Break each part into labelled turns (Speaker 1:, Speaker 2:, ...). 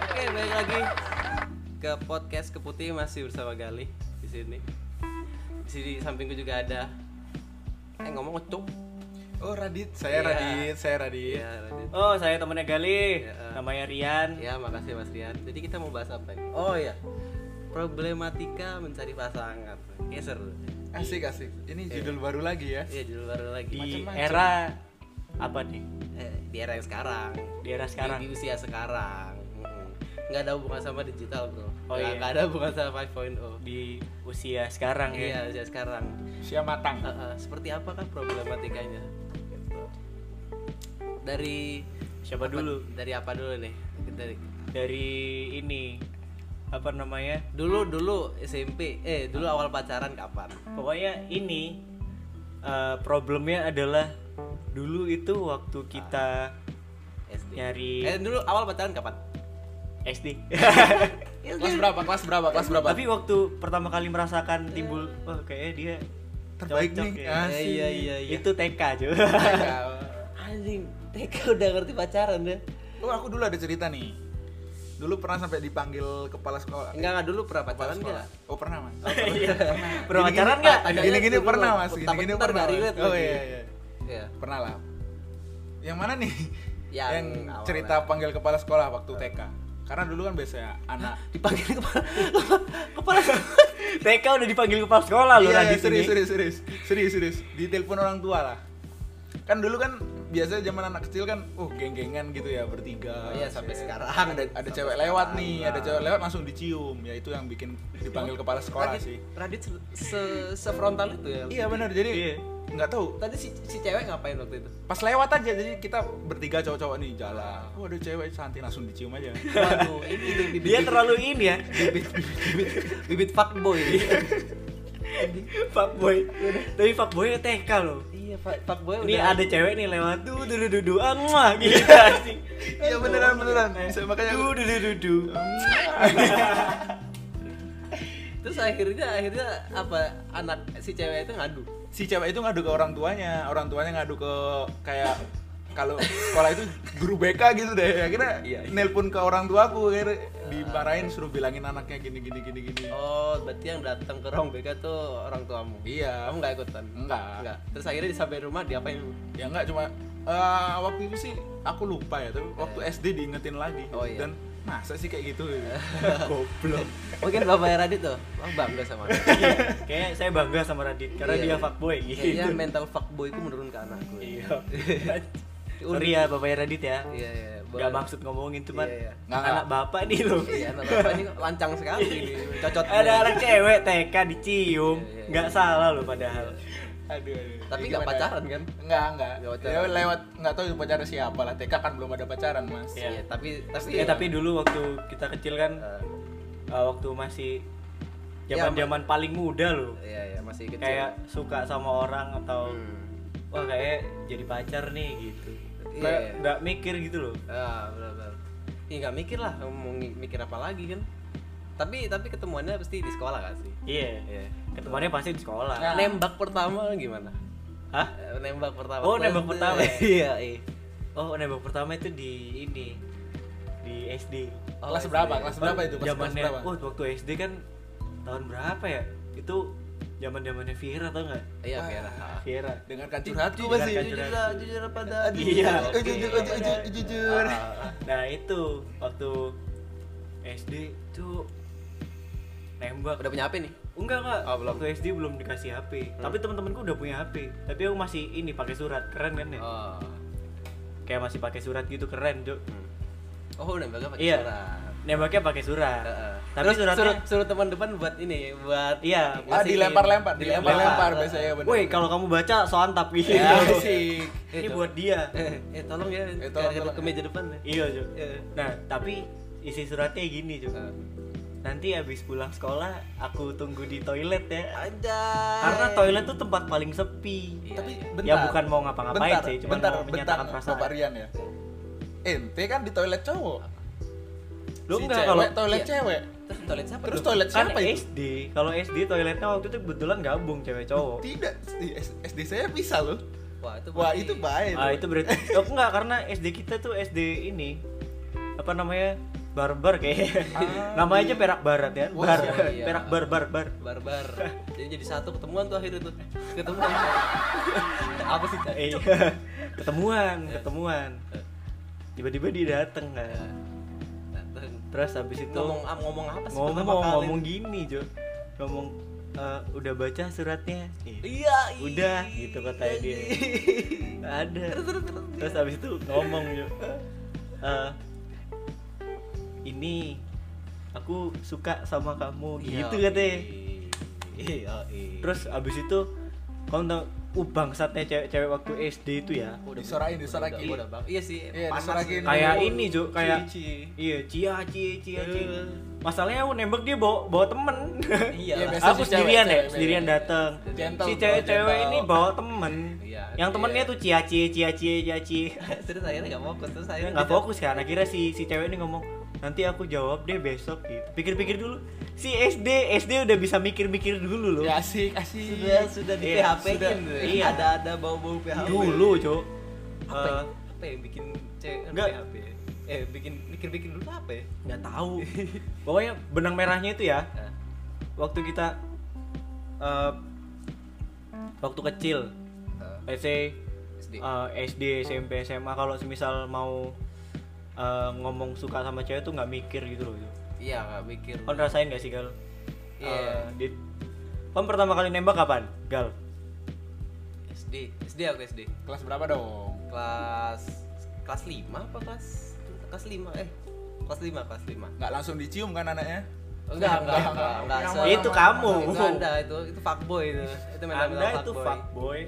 Speaker 1: lagi ke podcast Keputih masih bersama Galih di sini. Di sini di sampingku juga ada eh ngomong kecuk.
Speaker 2: Oh Radit,
Speaker 1: Iya.
Speaker 2: saya Radit, saya Radit.
Speaker 1: Iya, Radit.
Speaker 3: Oh, saya temennya Gali,
Speaker 1: Ya, eh.
Speaker 3: namanya Rian.
Speaker 1: Ya, makasih Mas Rian. Jadi kita mau bahas apa ini? Oh iya. Problematika mencari pasangan. Oke, seru.
Speaker 2: Asik asik. Ini judul baru lagi ya.
Speaker 1: Iya, judul baru lagi.
Speaker 3: Di
Speaker 2: Macem-macem.
Speaker 3: era apa nih?
Speaker 1: eh, di era yang sekarang.
Speaker 3: Di era sekarang.
Speaker 1: Di, di usia sekarang. Mm-mm. nggak ada hubungan sama digital, Bro. nggak,
Speaker 3: Oh, iya.
Speaker 1: nggak ada hubungan sama 5.0.
Speaker 3: Di usia sekarang ya.
Speaker 1: Iya, usia sekarang.
Speaker 2: Sia matang.
Speaker 1: Uh, uh, seperti apakah problematikanya? Gitu. Dari
Speaker 3: Siapa
Speaker 1: apa-
Speaker 3: dulu?
Speaker 1: Dari apa dulu nih? Dari
Speaker 3: Dari ini apa namanya?
Speaker 1: dulu dulu SMP, eh dulu
Speaker 2: Ah.
Speaker 1: awal pacaran kapan?
Speaker 3: Pokoknya ini eh, problemnya adalah dulu itu waktu kita
Speaker 1: SD.
Speaker 3: Nyari-
Speaker 1: Eh dulu awal pacaran kapan?
Speaker 3: SD.
Speaker 2: Kelas berapa? Kelas berapa? Kelas berapa?
Speaker 3: Tapi waktu pertama kali merasakan timbul
Speaker 1: Ya.
Speaker 3: wah kayaknya dia
Speaker 2: Terbaik
Speaker 3: cocok
Speaker 2: nih.
Speaker 3: ya.
Speaker 1: Eh,
Speaker 2: Ah. Asik.
Speaker 1: iya iya iya.
Speaker 3: Itu TK cuy.
Speaker 1: Anjing, TK udah ngerti pacaran ya?
Speaker 2: Oh aku dulu ada cerita nih. Dulu pernah sampai dipanggil kepala sekolah.
Speaker 1: Enggak enggak dulu pernah
Speaker 2: Kepala
Speaker 1: pacaran
Speaker 2: sekolah.
Speaker 1: enggak?
Speaker 2: Oh pernah mas.
Speaker 3: Iya. Pernah
Speaker 2: Gini-gini- ah,
Speaker 3: pacaran enggak?
Speaker 1: Tanya
Speaker 2: Gini-gini
Speaker 1: dulu.
Speaker 2: pernah mas.
Speaker 1: Takut
Speaker 2: Gini-gini
Speaker 1: ntar
Speaker 2: pernah.
Speaker 1: nggak
Speaker 2: Mas.
Speaker 1: relate
Speaker 2: Oh
Speaker 1: lagi.
Speaker 2: iya iya.
Speaker 1: Iya.
Speaker 2: Pernah lah. Yang mana nih?
Speaker 1: Yang
Speaker 2: Yang
Speaker 1: awalnya.
Speaker 2: cerita panggil kepala sekolah waktu TK. Karena dulu kan biasanya anak
Speaker 1: Dipanggil kepala kepala
Speaker 3: TK udah dipanggil kepala sekolah loh
Speaker 2: iya,
Speaker 3: Radit
Speaker 2: serius,
Speaker 3: ini.
Speaker 2: serius, serius, serius, serius. Ditelepon orang tua lah. Kan dulu kan biasanya zaman anak kecil kan, uh geng-gengan gitu ya bertiga.
Speaker 1: Oh iya, sampai
Speaker 2: Cewek.
Speaker 1: sekarang.
Speaker 2: ada ada
Speaker 1: Sampai
Speaker 2: cewek
Speaker 1: sekarang.
Speaker 2: lewat nih, ada cewek lewat langsung dicium. Ya itu yang bikin dipanggil kepala sekolah
Speaker 1: Radit,
Speaker 2: sih.
Speaker 1: Radit se, se- sefrontal itu ya?
Speaker 2: Iya benar, jadi
Speaker 3: Iya.
Speaker 2: nggak tahu.
Speaker 1: Tadi si, si cewek ngapain waktu itu?
Speaker 2: Pas lewat aja, jadi kita bertiga cowok-cowok nih jalan. Oh ada cewek cantik langsung dicium aja.
Speaker 1: Waduh, ini itu bibit
Speaker 3: Dia terlalu ini ya.
Speaker 1: bibit bibit, bibit, bibit fuckboy.
Speaker 3: Fuckboy. Tapi fuckboy TK loh.
Speaker 1: iya, fa- fuckboy
Speaker 3: Ini
Speaker 1: udah-
Speaker 3: ada cewek nih lewat du du du du du ah gitu anjing.
Speaker 2: Iya beneran beneran. Saya makanya
Speaker 3: Du du du du du.
Speaker 1: Terus akhirnya akhirnya apa anak si cewek itu ngadu.
Speaker 2: si cewek itu ngadu ke orang tuanya orang tuanya ngadu ke kayak kalau sekolah itu guru BK gitu deh akhirnya
Speaker 1: Iya,
Speaker 2: nelpon ke orang tuaku akhirnya dimarahin suruh bilangin anaknya gini gini gini gini
Speaker 1: Oh, berarti yang datang ke ruang BK tuh orang tuamu.
Speaker 2: iya
Speaker 1: Kamu nggak ikutan?
Speaker 2: enggak
Speaker 1: Enggak. Terus akhirnya sampai rumah diapain?
Speaker 2: ya enggak cuma eh, waktu itu sih aku lupa ya tapi waktu SD diingetin lagi
Speaker 1: Oh, iya.
Speaker 2: dan masa sih kayak gitu goblok
Speaker 1: Mungkin bapaknya Radit tuh, oh, bangga sama aku.
Speaker 3: Kayak Iya, saya bangga sama Radit karena
Speaker 1: Iya.
Speaker 3: dia fuckboy gitu.
Speaker 1: Kayaknya mental fuckboy itu menurun ke anakku.
Speaker 3: Iya. Sorry ya bapaknya Radit ya.
Speaker 1: Iya, iya.
Speaker 3: Gak maksud ngomongin cuman
Speaker 1: Iya, iya.
Speaker 2: Nggak,
Speaker 3: anak bapak nih loh.
Speaker 1: Iya, anak bapak ini lancang sekali ini. Cocot.
Speaker 3: Ada anak cewek TK dicium.
Speaker 1: Iya, iya.
Speaker 3: Nggak salah loh padahal.
Speaker 2: aduh, aduh.
Speaker 1: Tapi nggak
Speaker 2: Ya, gimana?
Speaker 1: pacaran kan?
Speaker 2: Enggak, enggak.
Speaker 1: Nggak pacaran.
Speaker 2: Ya, lewat nggak tahu itu pacaran siapa lah. TK kan belum ada pacaran, Mas.
Speaker 3: Iya.
Speaker 1: Iya, tapi tapi
Speaker 3: Ya tapi dulu waktu kita kecil kan
Speaker 1: Eh,
Speaker 3: Uh, waktu masih
Speaker 1: Ya,
Speaker 3: zaman-zaman paling muda loh.
Speaker 1: iya, iya, masih
Speaker 2: Gitu.
Speaker 1: kecil.
Speaker 3: Kayak suka sama orang atau
Speaker 1: Hmm.
Speaker 3: wah kayak jadi pacar nih gitu.
Speaker 1: Iya,
Speaker 3: Kayak
Speaker 1: iya.
Speaker 3: nggak mikir gitu loh.
Speaker 1: Ah, benar-benar. Iya, nggak mikir lah mau ngi- mikir apa lagi kan. Tapi tapi ketemuannya pasti di sekolah kan sih.
Speaker 3: Iya.
Speaker 1: Iya.
Speaker 3: Ketemuannya pasti di sekolah.
Speaker 2: Nah.
Speaker 1: Nembak pertama gimana?
Speaker 3: Hah?
Speaker 1: Eh, Nembak pertama.
Speaker 3: Oh, nembak
Speaker 1: Kelas-
Speaker 3: pertama.
Speaker 1: Iya, iya.
Speaker 3: Oh, nembak pertama itu di ini di SD.
Speaker 1: Oh,
Speaker 2: kelas
Speaker 1: SD.
Speaker 2: berapa? Kelas berapa itu? Pas kelas
Speaker 3: Zamannya
Speaker 2: berapa?
Speaker 3: oh, waktu SD kan tahun berapa ya? Itu zaman-zamannya Vira tau nggak?
Speaker 1: Iya, Vera. Ah.
Speaker 3: Vira.
Speaker 2: Dengarkan curhatku,
Speaker 3: Dengarkan
Speaker 2: Mas.
Speaker 3: curhat.
Speaker 1: Jujurlah, jujur pada Adi.
Speaker 3: Iya.
Speaker 2: Eh, jujur,
Speaker 1: Oke. Ah,
Speaker 2: jujur, jujur, jujur.
Speaker 3: Nah, itu waktu SD tuh nembak
Speaker 1: Udah punya HP nih?
Speaker 3: Enggak enggak.
Speaker 1: Oh, belum.
Speaker 3: Waktu SD belum dikasih HP. Tapi teman-temanku udah punya HP. Tapi aku masih ini pakai surat. Keren kan ya?
Speaker 1: Oh.
Speaker 3: Kayak masih pakai surat gitu keren, Cuk.
Speaker 1: Hmm. Oh, nembak apa?
Speaker 3: Iya.
Speaker 1: Surat.
Speaker 3: Nembaknya pakai surat.
Speaker 1: Heeh.
Speaker 3: Tapi
Speaker 1: Terus
Speaker 3: suratnya
Speaker 1: suruh, suruh teman depan buat ini, buat
Speaker 3: iya.
Speaker 2: Ah,
Speaker 1: Masih-
Speaker 2: dilempar-lempar,
Speaker 1: dilempar.
Speaker 2: dilempar-lempar biasanya benar.
Speaker 3: Woi, kalau kamu baca soantap gitu.
Speaker 2: Ya, asik.
Speaker 3: ini buat dia.
Speaker 1: eh, eh, tolong ya,
Speaker 2: Eh, tolong,
Speaker 1: cari
Speaker 2: tolong.
Speaker 1: ke meja depan ya.
Speaker 3: iya, Cuk.
Speaker 1: Iya.
Speaker 3: Nah, tapi isi suratnya gini, Cuk.
Speaker 1: Eh.
Speaker 3: Nanti habis pulang sekolah aku tunggu di toilet
Speaker 1: Ah,
Speaker 3: ya.
Speaker 1: Anjay.
Speaker 3: Karena toilet tuh tempat paling sepi.
Speaker 1: Iya,
Speaker 2: Tapi
Speaker 1: iya.
Speaker 2: bentar.
Speaker 3: Ya bukan mau ngapa-ngapain
Speaker 2: bentar,
Speaker 3: sih, cuma
Speaker 2: bentar,
Speaker 3: mau
Speaker 2: bentar,
Speaker 3: menyatakan perasaan.
Speaker 2: Bapak Rian ya. Ente kan di toilet cowok.
Speaker 3: Lu
Speaker 2: Si
Speaker 3: enggak
Speaker 2: cewek,
Speaker 3: kalau
Speaker 2: toilet
Speaker 1: iya.
Speaker 2: cewek.
Speaker 1: Terus toilet siapa?
Speaker 2: Terus
Speaker 1: dong?
Speaker 2: toilet
Speaker 3: kan
Speaker 2: siapa itu?
Speaker 3: SD kalau SD toiletnya waktu itu kebetulan gabung cewek cowok
Speaker 2: Tidak, di S- SD saya bisa loh.
Speaker 1: Wah, itu
Speaker 2: Wah,
Speaker 1: berarti-
Speaker 2: itu baik.
Speaker 3: ah itu berarti oh, enggak karena SD kita tuh SD ini apa namanya barbar kayak
Speaker 2: Ah.
Speaker 3: namanya aja perak barat ya
Speaker 2: Wah,
Speaker 3: bar
Speaker 1: iya.
Speaker 3: perak bar bar bar
Speaker 1: barbar jadi jadi satu ketemuan tuh akhirnya tuh ketemuan apa sih
Speaker 2: Nah,
Speaker 1: Cak?
Speaker 3: Eh,
Speaker 2: Iya.
Speaker 3: ketemuan ketemuan tiba-tiba dia dateng kan
Speaker 1: Dateng.
Speaker 3: terus habis itu
Speaker 1: Nah, ngomong ah, ngomong apa sih
Speaker 3: ngomong
Speaker 1: pertama kali?
Speaker 3: ngomong gini jo ngomong "Eh, udah baca suratnya Ih,
Speaker 1: iya ih.
Speaker 3: udah gitu katanya dia ada terus habis itu ngomong Jo. "Eh, ini aku suka sama kamu
Speaker 1: Iya,
Speaker 3: gitu katanya
Speaker 1: ih. iya ih.
Speaker 3: terus habis itu kamu tau uh bangsatnya cewek-cewek waktu SD itu ya
Speaker 1: Aku udah-
Speaker 2: Disorakin,
Speaker 1: udah-
Speaker 2: disorakin.
Speaker 1: udah- udah bang iya sih
Speaker 2: Iya,
Speaker 1: panas
Speaker 2: disorakin.
Speaker 1: sih.
Speaker 3: kayak
Speaker 2: Oh,
Speaker 3: ini Jo kayak
Speaker 2: cici.
Speaker 3: iya cia cia cia cia
Speaker 1: Eh.
Speaker 3: masalahnya aku nembak dia bawa bawa temen
Speaker 1: Iya,
Speaker 2: Iya, biasa
Speaker 3: aku
Speaker 2: sih
Speaker 3: sendirian
Speaker 2: cewek,
Speaker 3: ya
Speaker 2: cewek,
Speaker 3: sendirian
Speaker 2: cewek.
Speaker 3: dateng
Speaker 2: Gentle,
Speaker 3: si cewek-cewek
Speaker 2: gentle.
Speaker 3: ini bawa temen
Speaker 1: Iya,
Speaker 3: yang temennya
Speaker 1: iya.
Speaker 3: tuh cia cia cia cia cia cia
Speaker 1: terus akhirnya nggak fokus terus
Speaker 3: Dia
Speaker 1: akhirnya
Speaker 3: nggak
Speaker 1: kita-
Speaker 3: fokus kan akhirnya si si cewek ini ngomong nanti aku jawab deh besok gitu pikir-pikir dulu si SD SD udah bisa mikir-mikir dulu loh
Speaker 2: Ya asik, asik.
Speaker 1: sudah sudah di
Speaker 3: Iya,
Speaker 1: PHP in
Speaker 3: sudah. Iya.
Speaker 1: gitu. ada ada bau bau PHP
Speaker 3: dulu
Speaker 1: ya
Speaker 3: cok
Speaker 1: apa ya?
Speaker 3: Eh,
Speaker 1: apa yang bikin cewek kan
Speaker 3: Nggak.
Speaker 1: PHP eh bikin mikir bikin dulu apa ya
Speaker 3: nggak tahu pokoknya benang merahnya itu ya
Speaker 1: Nah,
Speaker 3: waktu kita eh, waktu kecil
Speaker 1: eh,
Speaker 3: let's say
Speaker 1: SD.
Speaker 3: eh, SD SMP SMA kalau semisal mau eh, ngomong suka sama cewek tuh nggak mikir gitu loh
Speaker 1: iya nggak mikir
Speaker 3: kan rasain gak sih gal
Speaker 1: Iya.
Speaker 3: Eh, dit Kon pertama kali nembak kapan gal
Speaker 1: SD SD aku SD
Speaker 2: Kelas berapa dong?
Speaker 1: kelas kelas lima apa kelas kelas lima eh kelas lima kelas lima
Speaker 2: Nggak langsung dicium kan anaknya?
Speaker 1: enggak enggak enggak enggak
Speaker 2: Yang
Speaker 1: se-
Speaker 2: malam-
Speaker 3: Itu kamu.
Speaker 1: itu anda itu itu fuckboy itu itu memang
Speaker 3: anda
Speaker 1: memang
Speaker 3: itu fuckboy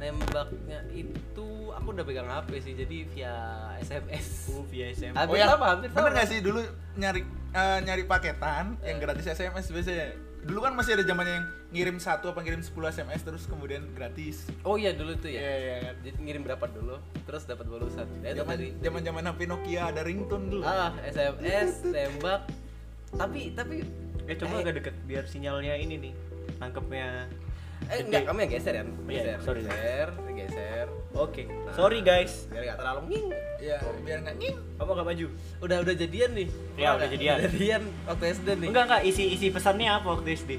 Speaker 1: nembaknya itu aku udah pegang HP sih jadi via SMS
Speaker 3: aku via SMP
Speaker 1: Hampir
Speaker 2: yang-
Speaker 1: sama, hampir
Speaker 2: Oh iya. bener
Speaker 1: sama.
Speaker 2: nggak sih dulu nyari eh, nyari paketan yang gratis SMS biasanya. Dulu kan masih ada zamannya yang ngirim satu apa ngirim 10 SMS terus kemudian gratis.
Speaker 1: oh iya dulu tuh ya
Speaker 2: Iya, iya kan.
Speaker 1: jadi ngirim berapa dulu terus dapat balasan ya, itu
Speaker 2: Zaman
Speaker 1: tadi
Speaker 2: zaman zaman HP Nokia ada ringtone dulu.
Speaker 1: ah SMS tembak tapi tapi
Speaker 3: eh coba agak deket biar sinyalnya ini nih tangkepnya
Speaker 1: eh enggak kamu yang geser ya
Speaker 3: Iya,
Speaker 1: geser
Speaker 3: sorry.
Speaker 1: geser geser Nah,
Speaker 3: oke
Speaker 1: Ah.
Speaker 3: sorry guys
Speaker 1: biar nggak terlalu nging
Speaker 2: Iya, biar nggak nying.
Speaker 3: kamu gak maju
Speaker 1: udah udah jadian nih
Speaker 3: Iya,
Speaker 1: Wah,
Speaker 3: udah jadian.
Speaker 1: jadian waktu SD nih
Speaker 3: enggak enggak isi isi pesannya apa waktu SD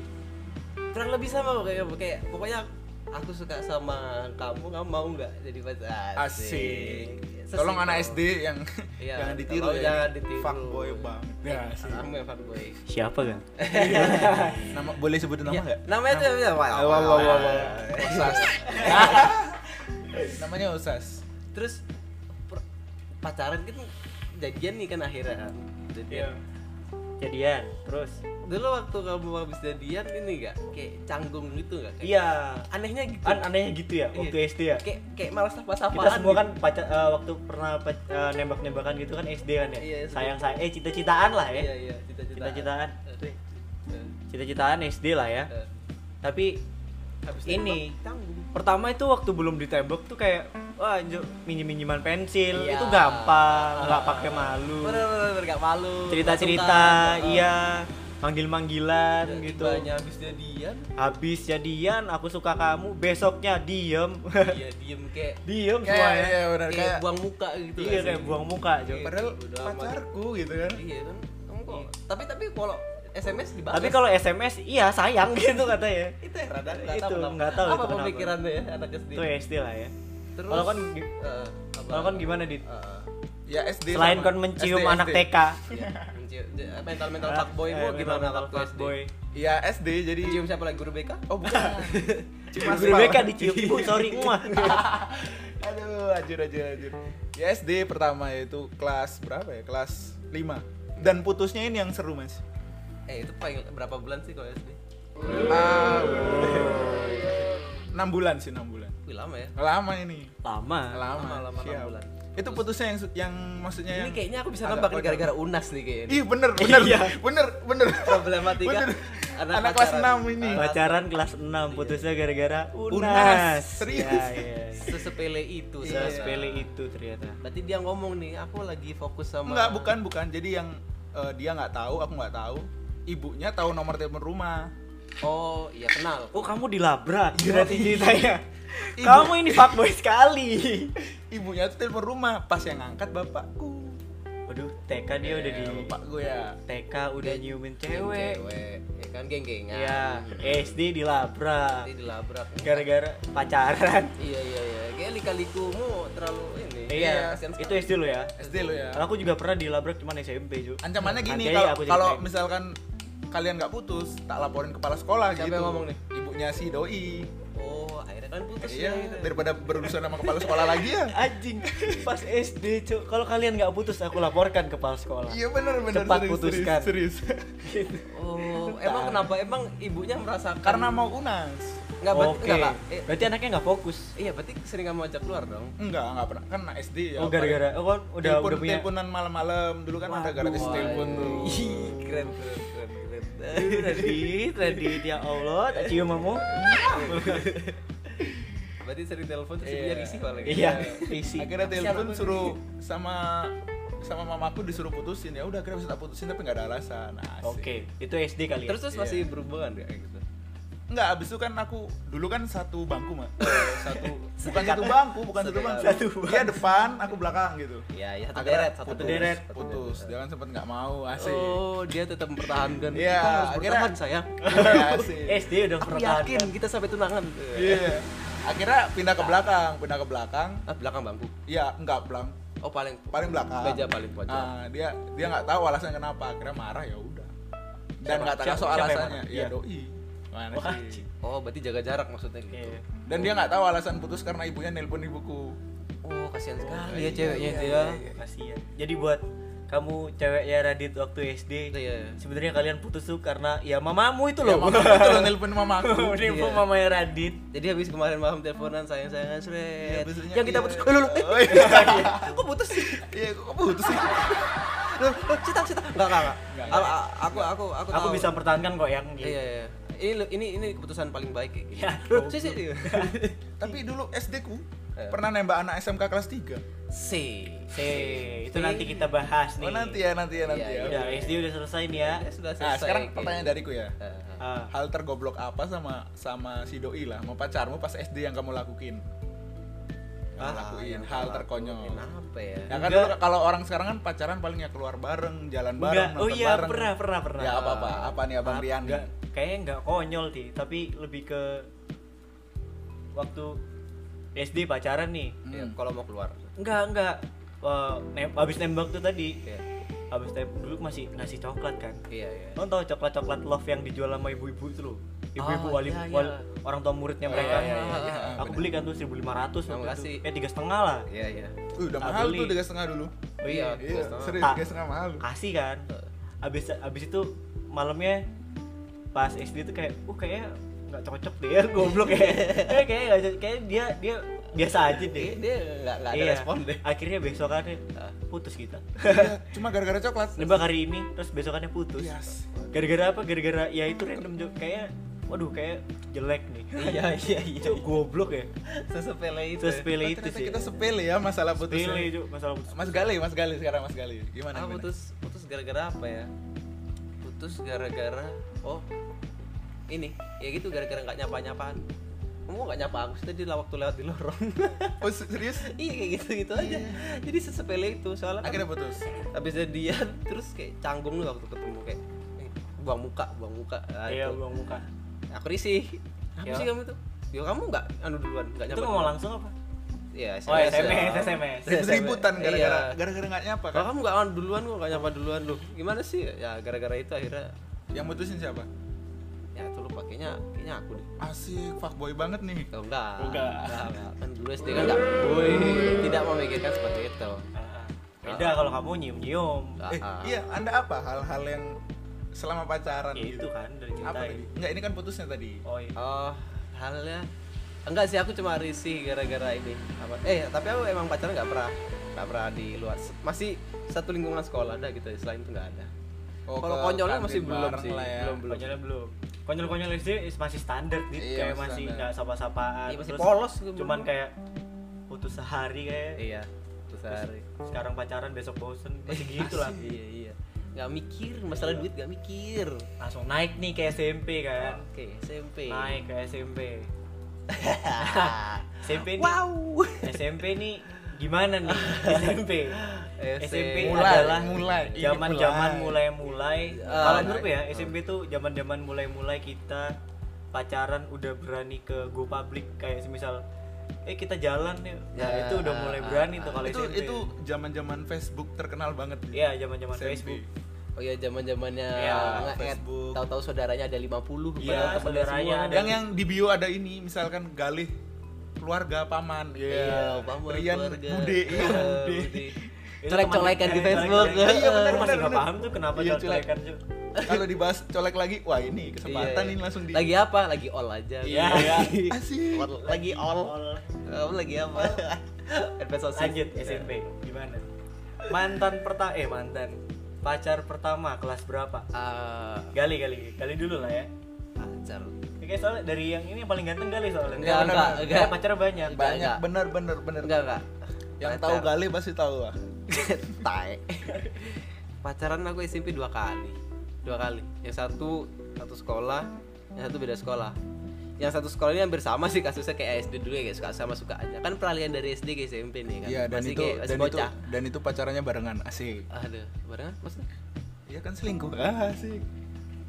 Speaker 1: kurang lebih sama kok, kayak kayak pokoknya aku suka sama kamu kamu mau nggak jadi pacar
Speaker 2: Asik.
Speaker 1: Sesimpel.
Speaker 2: Tolong anak SD yang
Speaker 1: Iya,
Speaker 2: jangan ditiru
Speaker 1: tolong
Speaker 2: ya.
Speaker 1: jangan ditiru. Iya,
Speaker 2: Fuckboy banget. Ya, asik.
Speaker 1: kamu yang fuckboy
Speaker 3: siapa kan
Speaker 1: Iya.
Speaker 2: Nama boleh sebutin nama
Speaker 1: Ya,
Speaker 2: nggak?
Speaker 1: namanya tuh ya, wah,
Speaker 2: Eh,
Speaker 1: wah, wah, wah,
Speaker 2: Usas. Namanya Usas.
Speaker 1: terus per- pacaran kan jadian nih kan akhirnya kan
Speaker 3: Iya.
Speaker 1: jadian
Speaker 3: jadian terus
Speaker 1: dulu waktu kamu habis jadian ini nggak kayak canggung gitu nggak Kayak-
Speaker 3: iya
Speaker 1: anehnya gitu
Speaker 3: kan anehnya gitu ya waktu
Speaker 1: Iya.
Speaker 3: SD ya
Speaker 1: kayak kayak malas gitu. apa-apaan
Speaker 3: kita semua kan pacar eh, waktu pernah pac- eh, nembak-nembakan gitu kan SD kan ya
Speaker 1: Iya, iya,
Speaker 3: sayang saya eh cita-citaan lah
Speaker 1: iya
Speaker 3: ya kan?
Speaker 1: iya cita-cita
Speaker 3: cita-citaan
Speaker 1: Eh, eh,
Speaker 3: cita-citaan SD lah ya
Speaker 1: eh.
Speaker 3: tapi
Speaker 1: Habis
Speaker 3: ini
Speaker 1: nembak, canggung
Speaker 3: pertama itu waktu belum ditembak tuh kayak wah anjo, minjem-minjeman pensil
Speaker 1: Iya.
Speaker 3: itu gampang nggak pakai malu
Speaker 1: Bener-bener gak malu
Speaker 3: cerita-cerita iya manggil-manggilan gitu
Speaker 1: gitu Banyak habis jadian
Speaker 3: habis jadian aku suka kamu besoknya diem
Speaker 1: Iya diem kayak
Speaker 3: diem semua
Speaker 2: Kayak
Speaker 3: ya
Speaker 2: iya benar
Speaker 1: Kayak
Speaker 2: kayak
Speaker 1: buang muka gitu
Speaker 3: iya
Speaker 1: gak sih?
Speaker 3: kayak buang muka Jo.
Speaker 1: Iya.
Speaker 2: padahal
Speaker 1: Bodo amat.
Speaker 2: pacarku gitu kan.
Speaker 1: Iya kan Kamu kok Tapi tapi kalau SMS dibahas
Speaker 3: Tapi kalau SMS iya sayang gitu katanya.
Speaker 1: Itu ya rada
Speaker 3: Itu,
Speaker 1: tahu kenapa.
Speaker 3: nggak tahu itu
Speaker 1: Apa
Speaker 3: kenapa.
Speaker 1: pemikirannya ya anak SD
Speaker 3: Itu SD lah ya.
Speaker 1: Terus
Speaker 3: Kalau kan
Speaker 1: eh, apa-
Speaker 3: kalau kan gimana dit?
Speaker 1: Eh,
Speaker 2: Ya SD.
Speaker 3: Selain
Speaker 2: sama.
Speaker 3: kon mencium
Speaker 2: SD,
Speaker 3: anak
Speaker 2: SD.
Speaker 3: TK.
Speaker 1: iya, mencium- Mental-mental
Speaker 3: Ah,
Speaker 1: fuckboy
Speaker 3: eh,
Speaker 1: mu gimana
Speaker 3: mental
Speaker 1: waktu SD?
Speaker 3: fuckboy.
Speaker 2: Iya SD jadi
Speaker 1: Cium siapa lagi? Guru BK?
Speaker 2: Oh bukan. Cuma
Speaker 3: Guru
Speaker 2: aspal.
Speaker 3: BK dicium ibu sorry muah.
Speaker 2: Aduh, ajur ajur ajur. Ya SD pertama itu kelas berapa ya? Kelas 5. Dan putusnya ini yang seru, Mas.
Speaker 1: Eh itu paling berapa bulan sih kalau SD?
Speaker 2: Ah. 6 bulan sih, 6 bulan.
Speaker 1: Wih lama ya
Speaker 2: Lama ini.
Speaker 3: Lama.
Speaker 2: Lama,
Speaker 1: lama, lama,
Speaker 2: siap.
Speaker 1: enam bulan.
Speaker 2: Itu putusnya yang yang maksudnya
Speaker 1: Ini
Speaker 2: yang
Speaker 1: kayaknya aku bisa
Speaker 2: agak
Speaker 1: nebak nih
Speaker 2: kocak.
Speaker 1: gara-gara unas nih kayaknya
Speaker 2: Ih, bener, bener.
Speaker 3: Iya.
Speaker 2: Bener, bener.
Speaker 1: Problematika
Speaker 2: Bener.
Speaker 1: anak
Speaker 2: Anak, kelas
Speaker 1: pacaran.
Speaker 2: 6 ini.
Speaker 3: Pacaran kelas 6 putusnya gara-gara
Speaker 2: Unas,
Speaker 3: unas.
Speaker 2: serius.
Speaker 3: Ya, ya, ya.
Speaker 1: Sesepele itu
Speaker 2: Iya.
Speaker 3: Udah
Speaker 1: sebenarnya.
Speaker 3: sepele itu ternyata.
Speaker 1: Berarti dia ngomong nih, aku lagi fokus sama
Speaker 2: Enggak, bukan, bukan. Jadi yang eh, dia nggak tahu, aku nggak tahu. Ibunya tahu nomor telepon rumah.
Speaker 1: Oh, iya kenal.
Speaker 3: Oh kamu dilabrak
Speaker 2: Iya.
Speaker 3: berarti ya? ceritanya.
Speaker 2: Ibu.
Speaker 3: Kamu ini fuckboy sekali.
Speaker 2: Ibunya tuh telepon rumah, pas yang ngangkat bapakku.
Speaker 3: Waduh, TK dia udah di
Speaker 2: lupa gue ya
Speaker 3: TK udah iya, nyiumin
Speaker 1: cewek.
Speaker 3: cewek.
Speaker 1: ya kan geng-gengan
Speaker 3: Iya, SD dilabrak.
Speaker 1: nanti dilabrak
Speaker 3: Gara-gara pacaran.
Speaker 1: iya iya iya kayak lika-likumu terlalu ini
Speaker 3: Iya,
Speaker 1: kasihan
Speaker 3: itu SD lo ya.
Speaker 2: SD lo ya
Speaker 3: Aku juga pernah dilabrak cuman SMP, Ju.
Speaker 2: ancamannya gini
Speaker 3: Nanti
Speaker 2: kalau
Speaker 3: aku gitu.
Speaker 2: kalau
Speaker 3: ceritain.
Speaker 2: misalkan kalian nggak putus tak laporin kepala sekolah
Speaker 1: Siapa
Speaker 2: gitu
Speaker 1: yang ngomong nih?
Speaker 2: ibunya si doi
Speaker 1: oh akhirnya kan putus ya
Speaker 2: iya
Speaker 1: gitu.
Speaker 2: daripada berurusan sama kepala sekolah lagi ya
Speaker 3: anjing pas SD, Cuk. Kalau kalian nggak putus aku laporkan ke kepala sekolah.
Speaker 2: iya benar benar
Speaker 3: Cepat
Speaker 2: serius,
Speaker 3: putuskan.
Speaker 2: serius, serius.
Speaker 1: oh emang kenapa emang ibunya merasakan
Speaker 2: karena mau unas
Speaker 1: nggak berarti
Speaker 3: Oke.
Speaker 1: nggak Kak. Eh,
Speaker 3: Berarti anaknya nggak fokus.
Speaker 1: iya berarti sering kamu ajak keluar dong
Speaker 2: enggak enggak pernah kan SD ya
Speaker 3: Oh, gara-gara oh, kan udah
Speaker 2: telepon
Speaker 3: udah punya.
Speaker 2: teleponan malam-malam dulu kan ada
Speaker 3: Waduh.
Speaker 2: gratis
Speaker 1: Wah, iya.
Speaker 2: telepon tuh
Speaker 1: ih, keren keren keren keren
Speaker 3: Radit, Radit ya Allah, tak cium kamu.
Speaker 1: berarti sering telepon terus
Speaker 2: Iya.
Speaker 1: ibunya risih gitu. paling
Speaker 3: Iya, isi.
Speaker 2: akhirnya
Speaker 1: Siapa
Speaker 2: telepon
Speaker 1: tuh?
Speaker 2: suruh sama sama mamaku disuruh putusin ya udah akhirnya bisa tak putusin tapi nggak ada alasan Asik.
Speaker 3: Oke, itu SD kali ya.
Speaker 1: terus terus
Speaker 2: Iya.
Speaker 1: masih berhubungan nggak kayak gitu
Speaker 2: Enggak, abis itu kan aku dulu kan satu bangku mah satu bukan satu bangku bukan satu bangku
Speaker 3: Satu bangku.
Speaker 2: dia depan aku belakang gitu
Speaker 1: Iya, iya, satu
Speaker 2: Akhirnya
Speaker 1: deret, satu
Speaker 2: putus,
Speaker 3: deret.
Speaker 2: putus dia kan sempet nggak mau asik
Speaker 1: oh dia tetap mempertahankan
Speaker 2: Iya,
Speaker 1: kita harus
Speaker 2: akhirnya-
Speaker 1: bertahan sayang
Speaker 2: Iya, asik
Speaker 1: Eh.
Speaker 3: SD udah
Speaker 1: aku
Speaker 3: pertahanan.
Speaker 1: yakin kita sampai tunangan
Speaker 2: Iya. akhirnya pindah ke belakang pindah ke belakang
Speaker 1: ah belakang bangku
Speaker 2: ya enggak belang
Speaker 1: oh paling
Speaker 2: paling belakang
Speaker 1: meja paling pojok
Speaker 2: Ah, dia dia nggak tahu alasan kenapa akhirnya marah ya udah dan
Speaker 3: Siapa-
Speaker 2: nggak tanya
Speaker 3: siapa-
Speaker 2: soal
Speaker 3: siapa yang
Speaker 2: alasannya
Speaker 3: marah?
Speaker 2: ya
Speaker 3: Iya.
Speaker 2: doi mana sih
Speaker 3: Wah, anjing.
Speaker 1: oh berarti jaga jarak maksudnya gitu
Speaker 3: Iya.
Speaker 2: dan dia nggak tahu alasan putus karena ibunya nelpon ibuku
Speaker 1: oh kasihan sekali ya
Speaker 2: iya,
Speaker 1: ceweknya
Speaker 2: iya,
Speaker 1: itu
Speaker 2: iya,
Speaker 1: ya
Speaker 2: iya.
Speaker 3: Kasihan. Jadi buat kamu ceweknya Radit waktu SD,
Speaker 1: Iya.
Speaker 3: sebenarnya kalian putus tuh karena ya mamamu itu
Speaker 2: Ya,
Speaker 3: loh.
Speaker 2: mama itu loh nelpon mamaku
Speaker 3: Ini
Speaker 1: Iya.
Speaker 3: mamanya Radit.
Speaker 1: jadi habis kemarin malam teleponan sayang sayangan
Speaker 2: Iya,
Speaker 1: seret
Speaker 2: biasanya
Speaker 1: yang kita
Speaker 2: iya.
Speaker 1: putus Eh, lu lu eh
Speaker 2: Oh, iya.
Speaker 1: kok putus sih
Speaker 2: Iya, kok putus sih?
Speaker 1: lu lu, cita cita enggak enggak enggak.
Speaker 2: Enggak,
Speaker 1: Al- a- aku aku aku
Speaker 3: Aku
Speaker 1: tahu.
Speaker 3: bisa mempertahankan kok yang gitu.
Speaker 1: iya iya ini lu- ini ini keputusan paling baik kayak gini
Speaker 3: Ya,
Speaker 1: lu sih sih
Speaker 2: Tapi dulu SD ku
Speaker 1: Eh.
Speaker 3: Iya.
Speaker 2: pernah nembak anak SMK kelas 3.
Speaker 1: si
Speaker 3: Se, itu nanti kita bahas nih.
Speaker 2: Oh, nanti ya, nanti ya, nanti
Speaker 1: Iya,
Speaker 2: ya.
Speaker 3: Udah, SD udah selesai Iya. nih ya.
Speaker 1: ya sudah selesai
Speaker 2: Nah, sekarang
Speaker 1: kayak
Speaker 2: pertanyaan
Speaker 1: gitu.
Speaker 2: dariku ya.
Speaker 1: Eh,
Speaker 3: Ah,
Speaker 2: Hal tergoblok apa sama sama si doi lah, mau pacarmu pas SD yang kamu lakuin? Kamu
Speaker 1: ah,
Speaker 2: lakuin
Speaker 1: yang
Speaker 2: hal
Speaker 1: aku
Speaker 2: terkonyol.
Speaker 3: Ah,
Speaker 1: lakuin apa ya
Speaker 2: Ya kan
Speaker 3: Enggak.
Speaker 2: dulu kalau orang sekarang kan pacaran paling ya keluar bareng, jalan
Speaker 3: enggak.
Speaker 2: bareng,
Speaker 3: Oh
Speaker 2: nonton
Speaker 3: iya,
Speaker 2: bareng.
Speaker 3: pernah, pernah, pernah.
Speaker 2: Ya apa-apa, apa nih Abang Rian?
Speaker 3: Enggak, kayaknya enggak konyol sih, tapi lebih ke waktu SD pacaran nih.
Speaker 1: Ya, kalau mau keluar
Speaker 3: Enggak, enggak. Eh, nem- habis nembak tuh tadi.
Speaker 1: Iya.
Speaker 3: Habis nembak dulu masih ngasih coklat kan.
Speaker 1: iya iya
Speaker 3: Lo tau coklat-coklat love yang dijual sama ibu-ibu itu loh. Ibu-ibu
Speaker 1: Oh,
Speaker 3: wali,
Speaker 1: iya, iya.
Speaker 3: wali- orang tua muridnya
Speaker 2: Oh,
Speaker 3: mereka.
Speaker 2: iya, iya, iya.
Speaker 3: Aku beli kan tuh 1500
Speaker 1: Kamu
Speaker 3: waktu
Speaker 1: kasih.
Speaker 3: itu. Eh tiga setengah lah.
Speaker 1: iya iya
Speaker 2: Uh, udah
Speaker 3: Tak
Speaker 2: mahal
Speaker 3: beli.
Speaker 2: tuh tiga setengah dulu.
Speaker 1: oh iya
Speaker 2: Iya,
Speaker 1: terus,
Speaker 2: serius
Speaker 3: Tak.
Speaker 2: tiga setengah mahal.
Speaker 3: Kasih kan. Abis abis itu malamnya pas SD tuh kayak, uh kayaknya nggak cocok deh ya, goblok ya. Kayak kayak kayak dia dia biasa aja
Speaker 1: dia
Speaker 3: deh.
Speaker 1: dia nggak nggak ada
Speaker 3: Iya.
Speaker 1: respon deh Ah.
Speaker 3: Akhirnya besokannya putus kita.
Speaker 2: Iya, Cuma gara-gara coklat.
Speaker 3: Nembak hari ini terus besokannya putus.
Speaker 2: Yes.
Speaker 3: Gara-gara apa? Gara-gara ya itu random jo- kayak waduh kayak jelek nih.
Speaker 1: iya iya iya
Speaker 3: Cuk, goblok ya.
Speaker 1: sesepele itu ya.
Speaker 3: Sesepele
Speaker 2: Oh,
Speaker 3: itu
Speaker 2: ternyata
Speaker 3: sih.
Speaker 2: kita sepele ya masalah putusnya.
Speaker 3: Sepele Cuk, masalah putus.
Speaker 2: Mas Gali, Mas Gali sekarang Mas Gali. Gimana?
Speaker 1: ah
Speaker 2: gimana?
Speaker 1: putus putus gara-gara apa ya putus gara-gara oh ini ya gitu gara-gara nggak nyapa nyapaan kamu nggak nyapa aku sih tadi lah waktu lewat di lorong
Speaker 2: Oh se- serius?
Speaker 1: iya kayak gitu gitu aja jadi sesepele itu soalnya kan
Speaker 2: Akhirnya putus.
Speaker 1: habis jadian terus kayak canggung lu waktu ketemu kayak eh, buang muka buang muka Nah,
Speaker 3: Iya,
Speaker 1: itu.
Speaker 3: buang muka.
Speaker 1: aku risih apa
Speaker 3: Iya.
Speaker 1: sih kamu tuh Yo kamu nggak anu duluan nggak
Speaker 3: Itu
Speaker 1: nyapa
Speaker 3: ngomong
Speaker 1: duluan.
Speaker 3: langsung apa?
Speaker 1: Iya,
Speaker 3: Oh, SMS,
Speaker 1: lah.
Speaker 3: SMS.
Speaker 2: Ribut ributan
Speaker 1: Iya.
Speaker 2: gara-gara gara-gara nggak nyapa kan?
Speaker 1: Kalau kamu nggak anu duluan, kok nggak nyapa duluan lu. Gimana sih? Ya gara-gara itu akhirnya
Speaker 2: Yang mutusin siapa?
Speaker 1: ya itu lupa kayaknya kayaknya aku deh.
Speaker 2: Asik, fuckboy banget nih.
Speaker 1: Oh, enggak.
Speaker 3: Oh, enggak.
Speaker 1: Enggak, enggak. Kan dulu SD kan enggak. Woi, tidak memikirkan seperti itu.
Speaker 3: Ah, ah. Beda kalau kamu nyium-nyium.
Speaker 1: Ah,
Speaker 2: Eh,
Speaker 1: ah.
Speaker 2: iya, Anda apa? Hal-hal yang selama pacaran
Speaker 3: Ya, itu kan dari
Speaker 2: gitu. Apa
Speaker 3: cinta.
Speaker 2: tadi? Enggak, ini kan putusnya tadi.
Speaker 3: Oh iya.
Speaker 1: Oh, halnya enggak sih aku cuma risih gara-gara ini. Apa? Eh, tapi aku emang pacaran nggak pernah nggak pernah di luar. Masih satu lingkungan sekolah dah gitu. Selain itu nggak ada.
Speaker 2: Oh,
Speaker 1: Kalau
Speaker 2: ke
Speaker 1: konyolnya
Speaker 2: kantin
Speaker 1: masih belum
Speaker 2: bareng
Speaker 1: sih.
Speaker 2: lah ya.
Speaker 1: Belum belum.
Speaker 3: Konyolnya belum. Konyol-konyol SD is- masih standar gitu,
Speaker 2: Iya,
Speaker 3: kayak
Speaker 2: masih
Speaker 3: masih
Speaker 2: standar.
Speaker 3: nggak sapa-sapaan.
Speaker 1: Iya, masih
Speaker 3: Terus
Speaker 1: polos gitu,
Speaker 3: Cuman
Speaker 1: belum.
Speaker 3: kayak putus sehari kayak
Speaker 1: Iya, terus hari.
Speaker 3: sekarang pacaran besok bosen masih gitu lah.
Speaker 1: Iya iya. Nggak mikir masalah duit nggak mikir.
Speaker 3: Langsung naik nih ke SMP kan.
Speaker 1: Oke, SMP.
Speaker 3: Naik ke SMP. SMP nih, SMP nih gimana nih SMP SMP
Speaker 2: Mulai,
Speaker 3: adalah
Speaker 2: mulai, ini
Speaker 3: zaman zaman mulai mulai
Speaker 1: Ah,
Speaker 3: kalau
Speaker 1: mulai.
Speaker 3: menurut ya SMP tuh zaman zaman mulai mulai kita pacaran udah berani ke go public kayak semisal eh kita jalan ya nah,
Speaker 1: Ya,
Speaker 3: itu udah mulai
Speaker 1: ah,
Speaker 3: berani tuh
Speaker 1: ah.
Speaker 3: kalau
Speaker 2: eh, itu
Speaker 3: SMP
Speaker 2: itu zaman-zaman Facebook terkenal banget. Ji.
Speaker 3: ya
Speaker 1: Iya,
Speaker 3: zaman zaman
Speaker 2: SMP.
Speaker 3: Facebook
Speaker 1: Oh iya zaman zamannya
Speaker 3: Iya,
Speaker 1: nge-add.
Speaker 2: Facebook.
Speaker 1: Tahu-tahu saudaranya ada 50 padahal temennya
Speaker 3: Iya, saudaranya
Speaker 1: semua.
Speaker 3: ada.
Speaker 2: Yang yang di bio ada ini misalkan Galih keluarga paman. Iya.
Speaker 1: pamer
Speaker 2: Rian
Speaker 1: keluarga.
Speaker 2: Bude. Iya,
Speaker 1: Iya,
Speaker 2: Bude.
Speaker 1: Bude.
Speaker 3: Itu
Speaker 1: Colek-colekan
Speaker 3: teman-
Speaker 1: di
Speaker 3: eh,
Speaker 1: Facebook.
Speaker 3: colek-colekan.
Speaker 2: Iya, benar,
Speaker 3: Lu masih
Speaker 2: benar,
Speaker 3: nggak
Speaker 2: benar.
Speaker 3: paham tuh kenapa
Speaker 2: Iya, colek.
Speaker 3: colek-colekan Cuk.
Speaker 2: Kalau dibahas colek lagi, wah ini kesempatan
Speaker 1: Iya,
Speaker 2: ini
Speaker 1: iya.
Speaker 2: langsung di Ah,
Speaker 1: Lagi apa? Lagi all aja.
Speaker 3: Iya,
Speaker 1: Iya.
Speaker 2: Asik.
Speaker 1: All- lagi all.
Speaker 3: All.
Speaker 1: Kamu lagi apa? Advance sosis.
Speaker 3: lanjut SMP gimana mantan pertama eh mantan pacar pertama kelas berapa
Speaker 1: Ah,
Speaker 3: gali gali gali dulu lah ya
Speaker 1: pacar.
Speaker 3: Oke soalnya dari yang ini yang paling ganteng gali soalnya
Speaker 1: Enggak, enggak, enggak.
Speaker 3: Karena pacarnya banyak
Speaker 2: banyak
Speaker 1: enggak.
Speaker 2: bener bener bener.
Speaker 1: Enggak, enggak.
Speaker 2: Yang
Speaker 1: Pacar.
Speaker 2: tahu kan? Galih pasti tahu lah.
Speaker 1: tai pacaran aku SMP dua kali dua kali yang satu satu sekolah yang satu beda sekolah yang satu sekolah ini hampir sama sih kasusnya kayak SD dulu ya kayak suka sama suka aja kan peralihan dari SD ke SMP nih kan
Speaker 2: Iya dan
Speaker 1: masih
Speaker 2: itu
Speaker 1: kayak masih
Speaker 2: dan itu
Speaker 1: bocah
Speaker 2: dan itu pacarannya barengan asik.
Speaker 1: aduh barengan maksudnya
Speaker 2: Iya kan selingkuh ah, asik.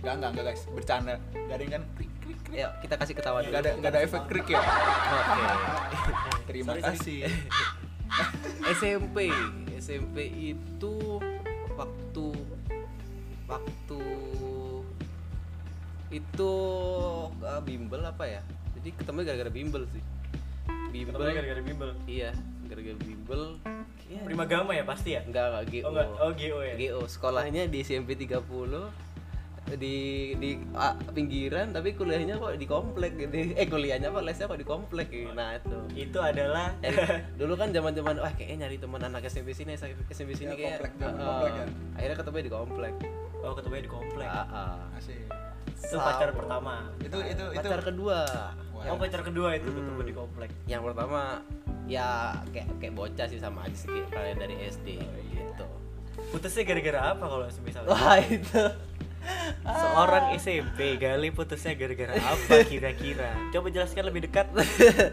Speaker 2: Enggak enggak enggak guys bercanda. Garing kan krik krik.
Speaker 1: ya kita kasih ketawa dulu
Speaker 2: Enggak ada enggak ada efek krik ya.
Speaker 1: oke
Speaker 2: Terima
Speaker 3: Sorry,
Speaker 2: kasih.
Speaker 1: SMP SMP itu waktu waktu itu eh, bimbel apa ya jadi ketemu gara-gara bimbel sih bimbel
Speaker 3: Ketemunya gara-gara bimbel
Speaker 1: iya gara-gara bimbel Iya.
Speaker 3: prima gama ya pasti ya
Speaker 1: enggak enggak GO
Speaker 3: oh enggak oh GO ya
Speaker 1: GO sekolahnya di SMP 30 di di ah, pinggiran tapi kuliahnya kok di komplek gitu eh kuliahnya kok lesnya kok di komplek gitu. nah itu
Speaker 3: itu adalah
Speaker 1: Eh, dulu kan zaman zaman wah kayaknya nyari teman anak SMP sini SMP sini
Speaker 2: Ya,
Speaker 1: kayak
Speaker 2: komplek, zaman
Speaker 1: Heeh.
Speaker 2: komplek kan.
Speaker 1: akhirnya ketemu di komplek Ah,
Speaker 3: oh ketemunya di komplek
Speaker 1: Heeh.
Speaker 2: Asik.
Speaker 3: itu pacar pertama
Speaker 2: Itu itu itu
Speaker 1: Nah, pacar kedua
Speaker 3: oh pacar kedua itu ketemu
Speaker 1: Hmm.
Speaker 3: di komplek
Speaker 1: yang pertama ya kayak kayak bocah sih sama aja sih kayak kalian dari SD
Speaker 2: Oh, iya.
Speaker 1: gitu
Speaker 3: putusnya gara-gara apa kalau semisal
Speaker 1: wah itu Ah.
Speaker 3: seorang SMP gali putusnya gara-gara apa kira-kira coba jelaskan lebih dekat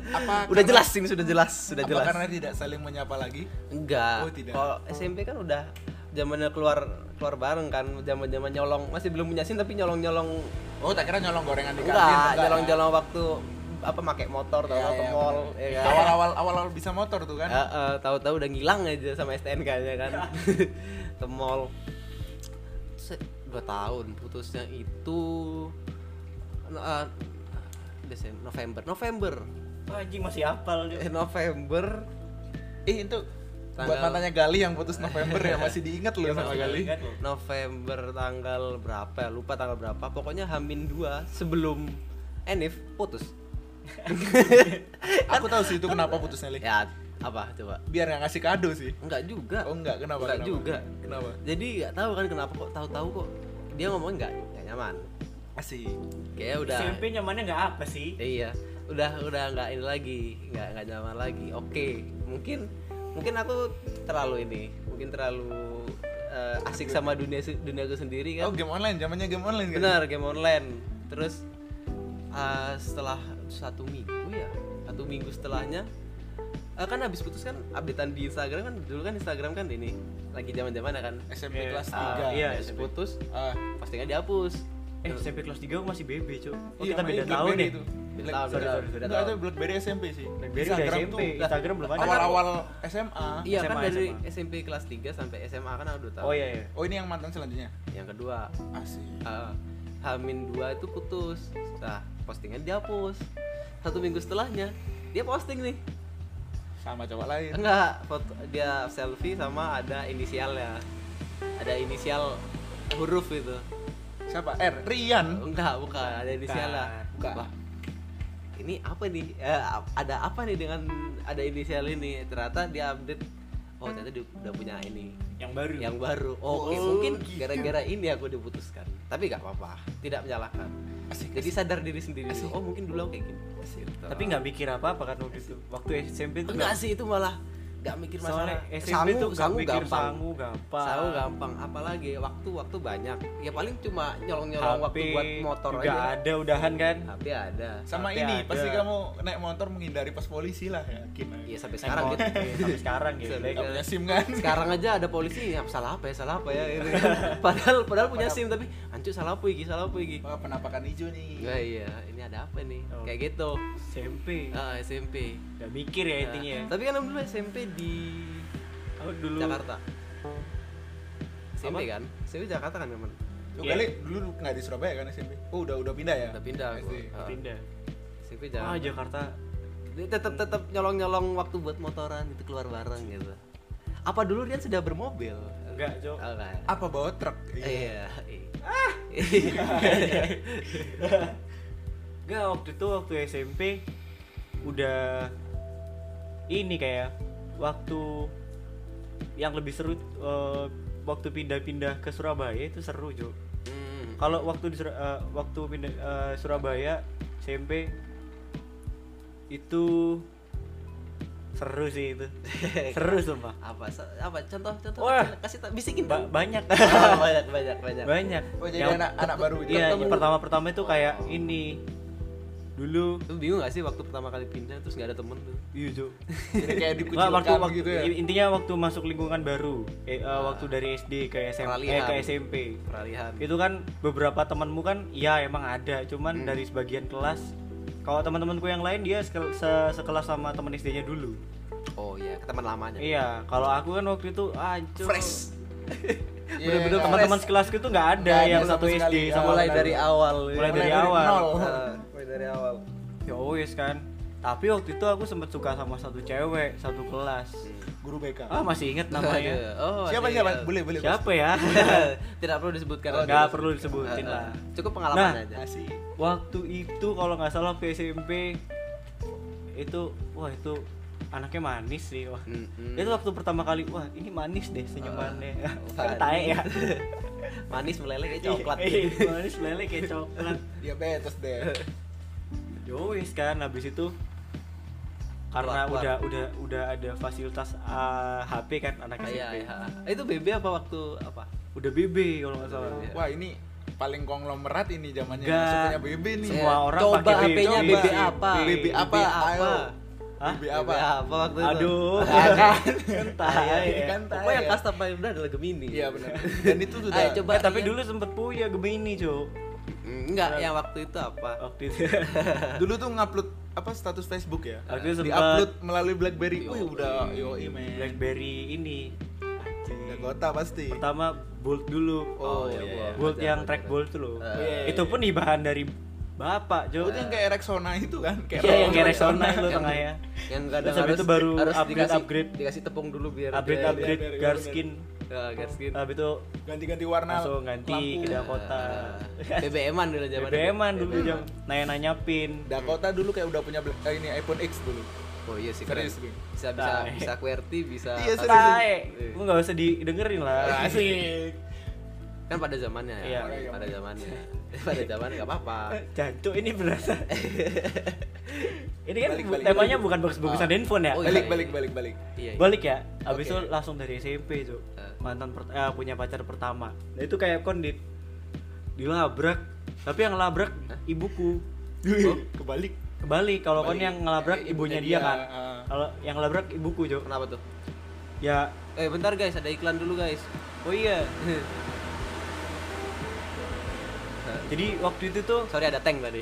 Speaker 2: apa
Speaker 1: udah jelas ini sudah jelas sudah
Speaker 2: apa
Speaker 1: jelas
Speaker 2: karena tidak saling menyapa lagi?
Speaker 1: enggak
Speaker 2: Oh, tidak.
Speaker 1: kalau SMP kan udah zamannya keluar keluar bareng kan zaman zaman nyolong masih belum punya SIM tapi nyolong nyolong
Speaker 2: Oh, tak kira nyolong gorengan di kantin.
Speaker 1: enggak
Speaker 2: enggak. ya?
Speaker 1: jalan-jalan waktu apa pakai motor tahu
Speaker 2: Iya,
Speaker 1: ke
Speaker 2: iya,
Speaker 1: mall
Speaker 2: bener.
Speaker 1: ya kan
Speaker 2: Awal-awal awal-awal bisa motor tuh kan. Iya.
Speaker 1: Eh, eh, tahu-tahu udah ngilang aja sama STNK nya kan ke mall Se- dua tahun putusnya itu no- eh, Desem- November November
Speaker 3: Wah, anjing masih apal dia.
Speaker 1: Eh, November
Speaker 2: Eh, itu buat
Speaker 1: Tanggal-
Speaker 2: mantannya Gali yang putus November ya masih diingat
Speaker 1: Iya,
Speaker 2: loh sama Gali.
Speaker 3: Ingat lu?
Speaker 1: November tanggal berapa ya? lupa tanggal berapa pokoknya Hamin 2 sebelum Enif putus
Speaker 2: Aku tahu sih itu kenapa putusnya Li.
Speaker 1: ya apa coba
Speaker 2: Biar nggak ngasih kado sih.
Speaker 1: enggak juga
Speaker 2: Oh enggak, kenapa?
Speaker 1: Enggak
Speaker 2: kenapa?
Speaker 1: juga.
Speaker 2: Kenapa?
Speaker 1: jadi nggak tahu kan kenapa kok tahu-tahu kok dia ngomong nggak nggak nyaman
Speaker 2: Asik.
Speaker 1: kayak ya udah
Speaker 3: SMP nyamannya nggak apa sih?
Speaker 1: iya udah udah nggak ini lagi nggak nggak nyaman lagi oke mungkin mungkin aku terlalu ini mungkin terlalu eh, asik sama dunia dunia aku sendiri kan
Speaker 2: Oh, game online, zamannya game online kan?
Speaker 1: benar game online terus eh, setelah satu minggu ya satu minggu setelahnya eh, kan habis putus kan updatean di Instagram kan dulu kan Instagram kan ini lagi zaman zaman kan Eh,
Speaker 2: SMP
Speaker 3: Iya.
Speaker 2: kelas
Speaker 3: Ah,
Speaker 2: 3.
Speaker 3: iya.
Speaker 1: habis putus
Speaker 2: Ah,
Speaker 1: postingan dihapus
Speaker 3: Eh, SMP kelas 3 masih BB, Cuk. Oh,
Speaker 2: iya,
Speaker 3: kita
Speaker 2: namanya
Speaker 3: beda tahun
Speaker 2: Blackberry
Speaker 3: nih.
Speaker 2: itu.
Speaker 1: Beda
Speaker 2: Black-
Speaker 1: tahun,
Speaker 3: sorry,
Speaker 1: beda
Speaker 3: sorry,
Speaker 1: tahun.
Speaker 3: sorry.
Speaker 2: Enggak, itu Blackberry SMP sih.
Speaker 3: BlackBerry udah SMP, Instagram belum ada.
Speaker 2: Awal-awal SMA.
Speaker 1: Iya
Speaker 3: SMA,
Speaker 1: kan dari
Speaker 3: SMA.
Speaker 1: SMP kelas 3 sampai SMA kan aku udah tahu.
Speaker 3: Oh iya iya.
Speaker 2: Oh, ini yang mantan selanjutnya.
Speaker 1: Yang kedua,
Speaker 2: Asik.
Speaker 1: eh, Hamin 2 itu putus. Nah, postingan dihapus. Satu minggu setelahnya dia posting nih.
Speaker 2: Sama cowok lain.
Speaker 1: Enggak, foto dia selfie sama ada inisialnya. Ada inisial huruf itu.
Speaker 2: Siapa? R. Rian.
Speaker 3: Hmm?
Speaker 1: Enggak, bukan, ada inisialnya.
Speaker 2: Bukan.
Speaker 1: Wah, ini apa nih? Eh, ap- ada apa nih dengan ada inisial ini? Ternyata dia update Oh, ternyata dia udah punya ini
Speaker 3: Yang baru.
Speaker 1: yang baru. Oh, oke,
Speaker 2: Oh,
Speaker 1: mungkin
Speaker 2: gitu.
Speaker 1: gara-gara ini aku diputuskan. Tapi nggak apa-apa, tidak menyalahkan.
Speaker 2: Asik.
Speaker 1: Jadi sadar diri sendiri. dulu. Oh, mungkin dulu aku kayak gini.
Speaker 3: Tapi nggak mikir apa-apa kan waktu itu. Waktu SMP itu
Speaker 1: enggak sih itu malah gak mikir
Speaker 3: Soalnya
Speaker 1: masalah Eh,
Speaker 3: SMP tuh gak mikir
Speaker 1: gampang
Speaker 3: sangu gampang.
Speaker 1: sangu gampang apalagi waktu waktu banyak ya paling cuma nyolong nyolong waktu
Speaker 3: HP
Speaker 1: buat motor
Speaker 3: juga
Speaker 1: aja
Speaker 3: ada udahan kan.
Speaker 1: HP ada
Speaker 2: Sama
Speaker 3: Tapi
Speaker 2: ini,
Speaker 3: ada.
Speaker 2: pasti kamu naik motor menghindari pas polisi lah ya. yakin.
Speaker 1: Iya sampai sekarang gitu.
Speaker 3: Iya, Sampai sekarang gitu.
Speaker 1: Sampai
Speaker 2: Gak punya SIM kan?
Speaker 1: Sekarang aja ada polisi, ya, salah apa ya, salah apa ya. gitu. Padahal padahal punya SIM tapi ancu salah apa iki, salah apa iki.
Speaker 2: Wah, penampakan hijau nih.
Speaker 1: Nah, iya, ini ada apa nih?
Speaker 3: Oh.
Speaker 1: Kayak gitu.
Speaker 3: SMP.
Speaker 1: Ah, SMP.
Speaker 3: Gak mikir ya
Speaker 1: Nah,
Speaker 3: intinya. ya.
Speaker 1: Tapi kan dulu SMP di
Speaker 3: Aku dulu
Speaker 1: Jakarta. SMP kan? SMP Jakarta kan teman.
Speaker 2: Lu
Speaker 3: Iya.
Speaker 2: kali dulu nggak di Surabaya kan SMP? Oh, udah udah pindah ya?
Speaker 1: Udah pindah aku.
Speaker 2: SD.
Speaker 1: Ah,
Speaker 3: pindah.
Speaker 1: SMP
Speaker 3: Ah,
Speaker 1: Jakarta.
Speaker 3: Jakarta.
Speaker 1: Tetap tetap nyolong-nyolong waktu buat motoran itu keluar bareng gitu. Apa dulu Rian sudah bermobil?
Speaker 3: Enggak, Ah! Cok.
Speaker 1: Oh, enggak.
Speaker 2: Apa bawa truk?
Speaker 1: Iya.
Speaker 3: Enggak, waktu itu waktu SMP udah ini kayak waktu yang lebih seru eh, waktu pindah-pindah ke Surabaya itu seru, Cok.
Speaker 1: Hmm.
Speaker 3: Kalau waktu di Sura- eh, waktu pindah eh, Surabaya SMP itu seru sih itu. seru sumpah.
Speaker 1: apa sa- apa contoh contoh
Speaker 3: Wah.
Speaker 1: kecil, kasih tau bisikin
Speaker 3: Ba-
Speaker 1: dong.
Speaker 3: banyak.
Speaker 1: Ah, banyak banyak banyak
Speaker 3: banyak.
Speaker 2: Oh, jadi anak anak baru gitu.
Speaker 3: Iya,
Speaker 1: ketemu.
Speaker 3: pertama-pertama itu kayak ini. Dulu
Speaker 1: lu bingung gak sih waktu pertama kali pindah terus nggak ada temen tuh
Speaker 3: Iya, Jo.
Speaker 2: Jadi kayak
Speaker 3: Nggak, waktu,
Speaker 2: dikucilkan
Speaker 3: waktu
Speaker 2: gitu ya. Ah.
Speaker 3: intinya waktu masuk lingkungan baru, eh, eh, waktu dari SD ke SMP, eh,
Speaker 1: Peralihan.
Speaker 3: ke SMP.
Speaker 1: peralihan
Speaker 3: Itu kan beberapa temanmu kan iya emang
Speaker 2: Hmm.
Speaker 3: ada, cuman dari sebagian kelas kalau teman-temanku yang lain dia sekel- se- sekelas sama teman SD-nya dulu.
Speaker 1: oh iya ke teman lamanya
Speaker 3: Iya, kalau aku kan waktu itu anjir.
Speaker 1: fresh
Speaker 2: Iya,
Speaker 3: Bener-bener
Speaker 2: nggak
Speaker 3: teman-teman
Speaker 2: fresh.
Speaker 3: sekelasku tuh nggak ada
Speaker 2: Nggak ada
Speaker 3: yang
Speaker 2: sama
Speaker 3: satu
Speaker 2: sekali.
Speaker 3: SD
Speaker 2: Ya,
Speaker 3: sama
Speaker 1: mulai
Speaker 2: benar.
Speaker 1: dari awal
Speaker 3: Mulai dari awal.
Speaker 2: nol.
Speaker 1: Eh, mulai dari awal
Speaker 3: Ya wis kan. Tapi waktu itu aku sempet suka sama satu cewek satu kelas.
Speaker 2: Guru BK.
Speaker 3: Ah masih inget namanya.
Speaker 1: Aduh, oh
Speaker 2: siapa
Speaker 1: ada
Speaker 2: siapa?
Speaker 1: ya.
Speaker 2: Boleh boleh.
Speaker 3: Siapa ya?
Speaker 1: tidak perlu disebutkan
Speaker 3: Oh, nggak perlu
Speaker 1: Eh, eh.
Speaker 3: disebutin lah.
Speaker 1: cukup pengalaman
Speaker 3: Nah.
Speaker 1: aja
Speaker 2: Asih.
Speaker 3: Waktu itu kalau nggak salah waktu SMP itu wah itu anaknya manis sih wah.
Speaker 1: Mm-mm.
Speaker 3: Itu waktu pertama kali wah ini manis deh senyumannya.
Speaker 1: Oh,
Speaker 3: Kan tae ya.
Speaker 1: manis meleleh kayak coklat
Speaker 3: Iya, manis lele kayak coklat.
Speaker 2: Diabetes deh.
Speaker 3: Yowis kan habis itu karena
Speaker 1: Keluar-keluar.
Speaker 3: udah udah udah ada fasilitas ah, HP kan anak SMP.
Speaker 1: iya iya. itu BB apa waktu apa
Speaker 3: Udah BB kalau nggak salah.
Speaker 1: Iya.
Speaker 2: Wah, ini paling konglomerat ini zamannya
Speaker 3: Nggak.
Speaker 2: masuk punya BB nih.
Speaker 3: Semua
Speaker 1: Iya.
Speaker 3: orang
Speaker 1: coba
Speaker 3: pakai BB.
Speaker 1: HP-nya
Speaker 2: Coba.
Speaker 1: BB apa
Speaker 2: BB apa? Ayo.
Speaker 3: Hah?
Speaker 2: BB apa?
Speaker 1: apa waktu itu?
Speaker 3: Aduh. Iya kan?
Speaker 1: Ada.
Speaker 3: Entah ya.
Speaker 2: Kan tae.
Speaker 1: Pokoknya yang custom paling rendah adalah Gemini.
Speaker 2: Iya benar. Dan itu sudah
Speaker 1: Ayo coba
Speaker 3: Eh, tapi
Speaker 1: Rian.
Speaker 3: dulu sempet punya Gemini, Cok.
Speaker 1: Mm, enggak
Speaker 3: Iya.
Speaker 1: yang waktu itu apa?
Speaker 3: Waktu itu.
Speaker 2: dulu tuh ngupload apa status Facebook ya?
Speaker 3: Waktu itu
Speaker 2: Diupload
Speaker 3: sempet iya.
Speaker 2: melalui BlackBerry.
Speaker 1: Yo,
Speaker 2: Wih, udah yoi men.
Speaker 3: BlackBerry ini. Anjing.
Speaker 2: Udah kota pasti.
Speaker 3: Pertama Bolt dulu.
Speaker 1: Oh,
Speaker 2: iya,
Speaker 1: iya, iya.
Speaker 3: Bolt
Speaker 1: Wajar,
Speaker 3: yang
Speaker 1: wajar.
Speaker 3: track Bolt tuh loh.
Speaker 1: Eh,
Speaker 2: iya,
Speaker 3: Itu pun bahan dari Bapak,
Speaker 1: Oh,
Speaker 2: Itu
Speaker 1: iya.
Speaker 2: yang
Speaker 3: Cok.
Speaker 2: kayak Rexona itu kan, kayak
Speaker 3: Iya, yang
Speaker 2: rokok.
Speaker 3: kayak Rexona itu
Speaker 1: Yang-
Speaker 3: tengahnya.
Speaker 1: Yang kadang
Speaker 3: Terus habis
Speaker 1: harus
Speaker 3: itu baru
Speaker 1: harus
Speaker 3: upgrade,
Speaker 1: dikasih,
Speaker 3: upgrade.
Speaker 1: dikasih tepung dulu biar
Speaker 3: Update
Speaker 1: dia-
Speaker 3: update
Speaker 2: iya, iya,
Speaker 3: Garskin.
Speaker 1: Ah, gas gitu.
Speaker 3: Habis itu
Speaker 2: ganti-ganti warna.
Speaker 3: langsung ganti ke Dakota.
Speaker 1: Ah, BBM-an dulu zaman
Speaker 3: BBM-an dulu jam nanya-nanya pin.
Speaker 2: Dakota dulu kayak udah punya Black- eh, ini iPhone X dulu.
Speaker 1: Oh iya sih keren.
Speaker 2: Serius gue.
Speaker 1: Bisa bisa
Speaker 3: Tai.
Speaker 1: bisa QWERTY bisa Iya.
Speaker 2: Iya, serius.
Speaker 3: Tai. Lu enggak usah didengerin lah.
Speaker 2: Asik.
Speaker 1: kan pada zamannya ya.
Speaker 3: Iya.
Speaker 1: Pada zamannya. pada zaman enggak apa-apa.
Speaker 3: Jancuk ini berasa. ini kan
Speaker 2: Balik,
Speaker 3: bu-
Speaker 2: balik,
Speaker 3: temanya
Speaker 2: balik.
Speaker 3: bukan bagus-bagusan handphone ya.
Speaker 1: Oh, iya.
Speaker 2: Ah. Balik balik balik balik.
Speaker 1: Iya. iya.
Speaker 3: Balik ya. Abis
Speaker 2: Oke.
Speaker 3: itu langsung dari SMP tuh.
Speaker 1: Eh.
Speaker 3: Mantan per- eh, punya pacar pertama. Nah, itu kayak kondit dilabrak. Tapi yang labrak ibuku.
Speaker 2: Oh, kebalik.
Speaker 3: Kebalik kalau kon
Speaker 2: Kebalik.
Speaker 3: yang ngelabrak
Speaker 2: Eh,
Speaker 3: ibunya
Speaker 2: ibunya
Speaker 3: dia
Speaker 2: dia,
Speaker 3: kan.
Speaker 2: ah.
Speaker 3: Kalau yang labrak ibuku, Jo.
Speaker 1: Kenapa tuh?
Speaker 3: Ya,
Speaker 1: Eh bentar guys, ada iklan dulu guys.
Speaker 3: oh iya. Jadi waktu itu tuh
Speaker 1: Sorry ada tank tadi.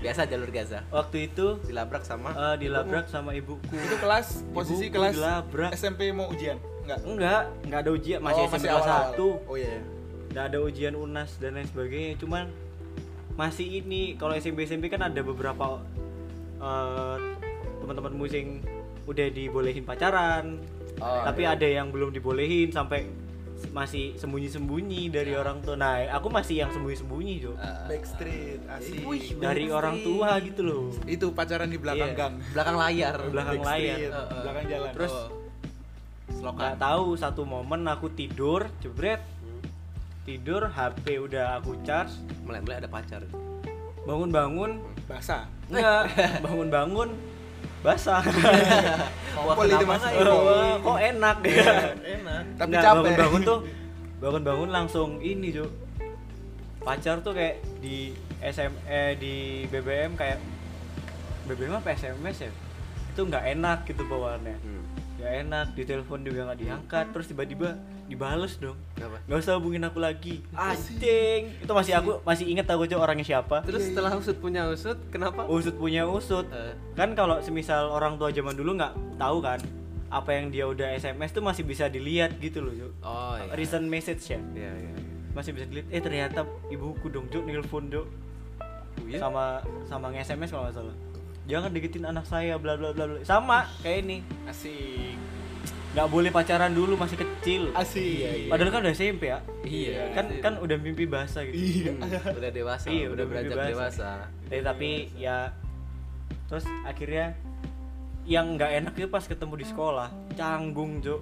Speaker 1: Biasa jalur Gaza.
Speaker 3: waktu itu
Speaker 1: Dilabrak sama
Speaker 3: eh, dilabrak sama ibuku.
Speaker 2: Nah, Itu kelas posisi
Speaker 3: Ibuku
Speaker 2: kelas
Speaker 3: dilabrak.
Speaker 2: SMP mau ujian. Enggak.
Speaker 3: Enggak, enggak ada ujian, masih
Speaker 2: Oh,
Speaker 3: SMP kelas
Speaker 2: awal-awal.
Speaker 3: 1.
Speaker 2: Oh iya.
Speaker 3: Enggak ada ujian UNAS dan lain sebagainya, cuman masih ini kalau SMP SMP kan ada beberapa eh, teman-teman musing udah dibolehin pacaran.
Speaker 1: Oh,
Speaker 3: tapi ada yang belum dibolehin sampai se- masih sembunyi-sembunyi dari orang tua. Nah, aku masih yang sembunyi-sembunyi, Jo.
Speaker 2: Ah. Backstreet asik.
Speaker 1: Wih.
Speaker 3: dari
Speaker 1: bagus
Speaker 3: orang
Speaker 1: sih.
Speaker 3: tua gitu loh.
Speaker 2: Itu pacaran di belakang
Speaker 3: Iya.
Speaker 2: gang.
Speaker 1: belakang layar.
Speaker 3: Belakang layar.
Speaker 2: Backstreet,
Speaker 1: Eh, eh.
Speaker 2: Belakang jalan.
Speaker 3: Terus
Speaker 1: Oh.
Speaker 3: nggak tahu satu momen aku tidur, jebret. Tidur, HP udah aku charge,
Speaker 1: Melek-melek ada pacar.
Speaker 3: bangun-bangun
Speaker 2: basah.
Speaker 3: Enggak, bangun-bangun basah.
Speaker 2: Kompol itu
Speaker 1: kenapa
Speaker 2: Mas.
Speaker 1: nggak ini?
Speaker 3: Wah, kok enak ya.
Speaker 2: Iya.
Speaker 1: Enak.
Speaker 2: Tapi
Speaker 3: Nggak,
Speaker 2: capek.
Speaker 3: Bangun-bangun tuh bangun-bangun langsung ini, Cuk. Pacar tuh kayak di SM eh, di BBM kayak BBM apa SMS ya? Itu nggak enak gitu bawaannya.
Speaker 1: Hmm.
Speaker 3: Nggak enak, di telepon juga nggak diangkat, terus tiba-tiba dibales dong.
Speaker 1: Kenapa?
Speaker 3: Nggak usah hubungin aku lagi. Anjing. Itu masih aku masih inget aku Cuk orangnya siapa.
Speaker 1: Terus setelah usut punya usut, kenapa?
Speaker 3: Usut punya usut.
Speaker 1: Eh,
Speaker 3: kan kalau semisal orang tua zaman dulu nggak tahu kan apa yang dia udah SMS tuh masih bisa dilihat gitu loh Cuk.
Speaker 1: oh iya.
Speaker 3: recent message ya
Speaker 1: Iya, iya.
Speaker 3: masih bisa dilihat eh ternyata ibuku dong Cuk nelpon Cuk.
Speaker 1: Oh, iya?
Speaker 3: sama sama nge-SMS kalau nggak salah jangan deketin anak saya bla bla bla bla sama kayak ini
Speaker 2: Asik.
Speaker 3: nggak boleh pacaran dulu masih kecil
Speaker 2: Asik.
Speaker 3: padahal kan udah SMP ya
Speaker 1: Iya.
Speaker 3: kan kan udah mimpi bahasa gitu
Speaker 1: Hmm, udah dewasa,
Speaker 3: Iya,
Speaker 1: udah,
Speaker 3: udah
Speaker 1: beranjak
Speaker 3: bebas.
Speaker 1: dewasa.
Speaker 3: Eh, tapi ya terus akhirnya yang nggak enak itu pas ketemu di sekolah canggung Cuk.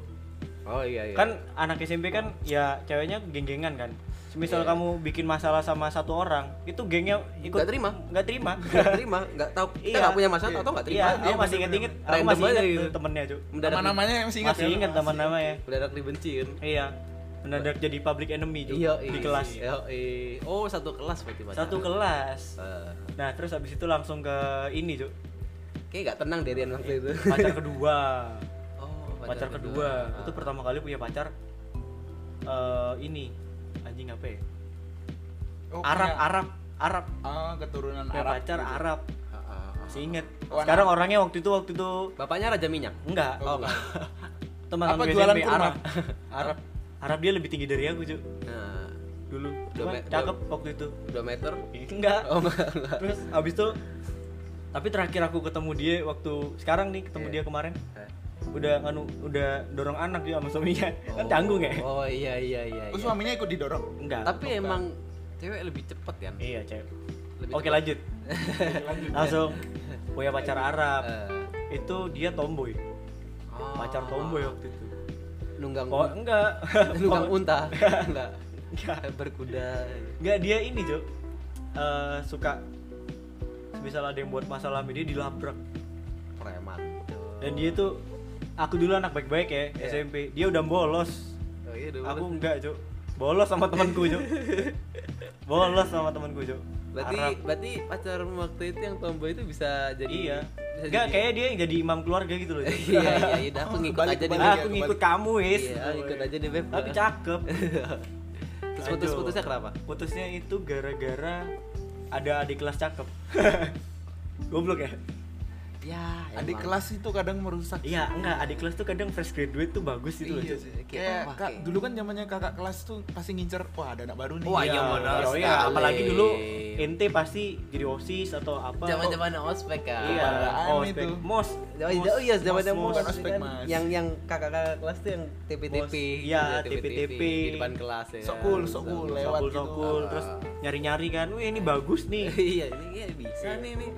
Speaker 1: Oh iya iya.
Speaker 3: kan anak SMP kan ya ceweknya genggengan kan semisal
Speaker 1: Iya.
Speaker 3: kamu bikin masalah sama satu orang itu gengnya ikut
Speaker 1: Nggak terima.
Speaker 3: nggak terima
Speaker 1: nggak terima, nggak tahu kita
Speaker 3: Iya.
Speaker 1: nggak punya masalah atau nggak terima.
Speaker 3: iya
Speaker 1: Dia
Speaker 3: aku masih inget inget aku
Speaker 1: Random
Speaker 3: masih
Speaker 1: aja
Speaker 3: inget
Speaker 1: gitu.
Speaker 3: tuh temennya cu
Speaker 1: mendadak
Speaker 2: Nama-namanya masih ingat
Speaker 3: masih inget teman nama ya
Speaker 1: mendadak dibenci kan.
Speaker 3: iya mendadak jadi public enemy cu
Speaker 1: Iya,
Speaker 3: di
Speaker 1: iya.
Speaker 3: kelas
Speaker 1: Iya, iya. Oh, satu kelas berarti pacaran.
Speaker 3: satu kelas
Speaker 1: Eh,
Speaker 3: nah terus habis itu langsung ke ini cu
Speaker 1: Kayaknya nggak tenang Derian waktu itu.
Speaker 3: pacar kedua
Speaker 1: Oh, Ah.
Speaker 3: pacar kedua itu pertama kali punya pacar eh, ini anjing apa ya
Speaker 2: Oh,
Speaker 3: Arab
Speaker 2: punya-
Speaker 3: Arab Arab
Speaker 2: Ah, keturunan
Speaker 3: punya
Speaker 2: Arab. gitu.
Speaker 3: pacar Arab
Speaker 1: Ah, ah, ah.
Speaker 3: Masih inget.
Speaker 2: Oh,
Speaker 3: Sekarang orangnya waktu itu waktu itu
Speaker 1: Bapaknya Raja Minyak.
Speaker 3: enggak.
Speaker 2: Oh, bukan.
Speaker 3: Teman
Speaker 2: Apa
Speaker 3: aku
Speaker 2: jualan
Speaker 3: SMP,
Speaker 2: kurma?
Speaker 3: Arab. Arab. Arab dia lebih tinggi dari aku, Cuk.
Speaker 1: Nah,
Speaker 3: Dulu.
Speaker 1: Dua
Speaker 3: Cuman
Speaker 1: me- dua-
Speaker 3: cakep waktu itu.
Speaker 1: 2 meter.
Speaker 3: Enggak.
Speaker 1: Oh, enggak. enggak.
Speaker 3: Terus habis itu tapi terakhir aku ketemu dia waktu sekarang nih ketemu
Speaker 1: Iya.
Speaker 3: dia kemarin
Speaker 1: Eh.
Speaker 3: udah anu udah dorong anak dia sama suaminya kan canggung ya
Speaker 1: Oh iya iya iya.
Speaker 2: Oh,
Speaker 1: iya.
Speaker 2: suaminya ikut didorong.
Speaker 3: enggak
Speaker 1: Tapi emang cewek lebih cepet kan?
Speaker 3: iya cewek
Speaker 1: Lebih
Speaker 3: oke
Speaker 1: cepet.
Speaker 3: lanjut
Speaker 2: Lanjut.
Speaker 3: langsung punya pacar Arab
Speaker 1: Eh,
Speaker 3: itu dia tomboy
Speaker 1: oh.
Speaker 3: pacar tomboy waktu itu
Speaker 1: Nunggang
Speaker 3: oh enggak
Speaker 1: nunggang
Speaker 3: Pokok-
Speaker 1: unta. Enggak.
Speaker 3: Enggak.
Speaker 1: Berkuda.
Speaker 3: Nggak dia ini Jo Eh, suka misal ada yang buat masalah sama dia dilabrak
Speaker 1: Preman.
Speaker 3: dan dia tuh aku dulu anak baik-baik ya
Speaker 1: Iya.
Speaker 3: SMP dia udah bolos
Speaker 1: Oh iya dulu.
Speaker 3: aku enggak Jo bolos sama temanku Jo bolos sama temanku Jo
Speaker 1: Berarti
Speaker 3: Arab.
Speaker 1: berarti pacar waktu itu yang tomboy itu bisa jadi
Speaker 3: iya
Speaker 1: bisa
Speaker 3: enggak
Speaker 1: jadi-
Speaker 3: kayaknya dia yang jadi imam keluarga gitu loh Jo.
Speaker 1: Iya iya iya udah aku
Speaker 2: Oh,
Speaker 1: ngikut
Speaker 2: kebalik,
Speaker 1: aja di
Speaker 2: kebalik
Speaker 3: Ah,
Speaker 2: ya,
Speaker 3: aku
Speaker 2: kebalik.
Speaker 3: ngikut kamu wis
Speaker 1: Iya, ikut aja deh, Beb.
Speaker 3: tapi cakep
Speaker 1: Terus
Speaker 3: Aduh.
Speaker 1: putus-putusnya kenapa?
Speaker 3: putusnya itu gara-gara ada adik kelas cakep goblok ya
Speaker 1: Ya,
Speaker 2: Adik
Speaker 1: emang.
Speaker 2: kelas itu kadang merusak.
Speaker 3: Iya, enggak, adik kelas tuh kadang fresh graduate tuh bagus gitu loh.
Speaker 2: Iya
Speaker 3: Cuk.
Speaker 2: sih.
Speaker 1: Kayak
Speaker 2: Kayak
Speaker 1: apa,
Speaker 2: kak,
Speaker 1: kayak-
Speaker 2: dulu kan zamannya kakak kelas tuh pasti ngincer, wah ada anak baru nih.
Speaker 1: Wah, iya, benar
Speaker 3: iya, iya.
Speaker 1: sekali.
Speaker 3: apalagi dulu ente pasti jadi OSIS atau apa.
Speaker 1: Zaman-zaman ospek kan.
Speaker 3: Iya,
Speaker 2: apaan
Speaker 3: ospek.
Speaker 2: itu?
Speaker 3: Mos.
Speaker 1: Oh iya, oh iya zaman zaman
Speaker 3: mos,
Speaker 2: bukan
Speaker 3: mos.
Speaker 2: ospek.
Speaker 1: kan?
Speaker 2: Mas.
Speaker 1: yang yang kakak-kakak kelas tuh yang TPTP.
Speaker 3: Mos. Iya,
Speaker 1: Iya, TPTP di depan kelas ya.
Speaker 2: Sok cool, sok cool, lewat gitu.
Speaker 3: Sokul-sokul, terus nyari-nyari kan. Wih, ini bagus nih.
Speaker 1: Iya, ini iya bisa nih nih.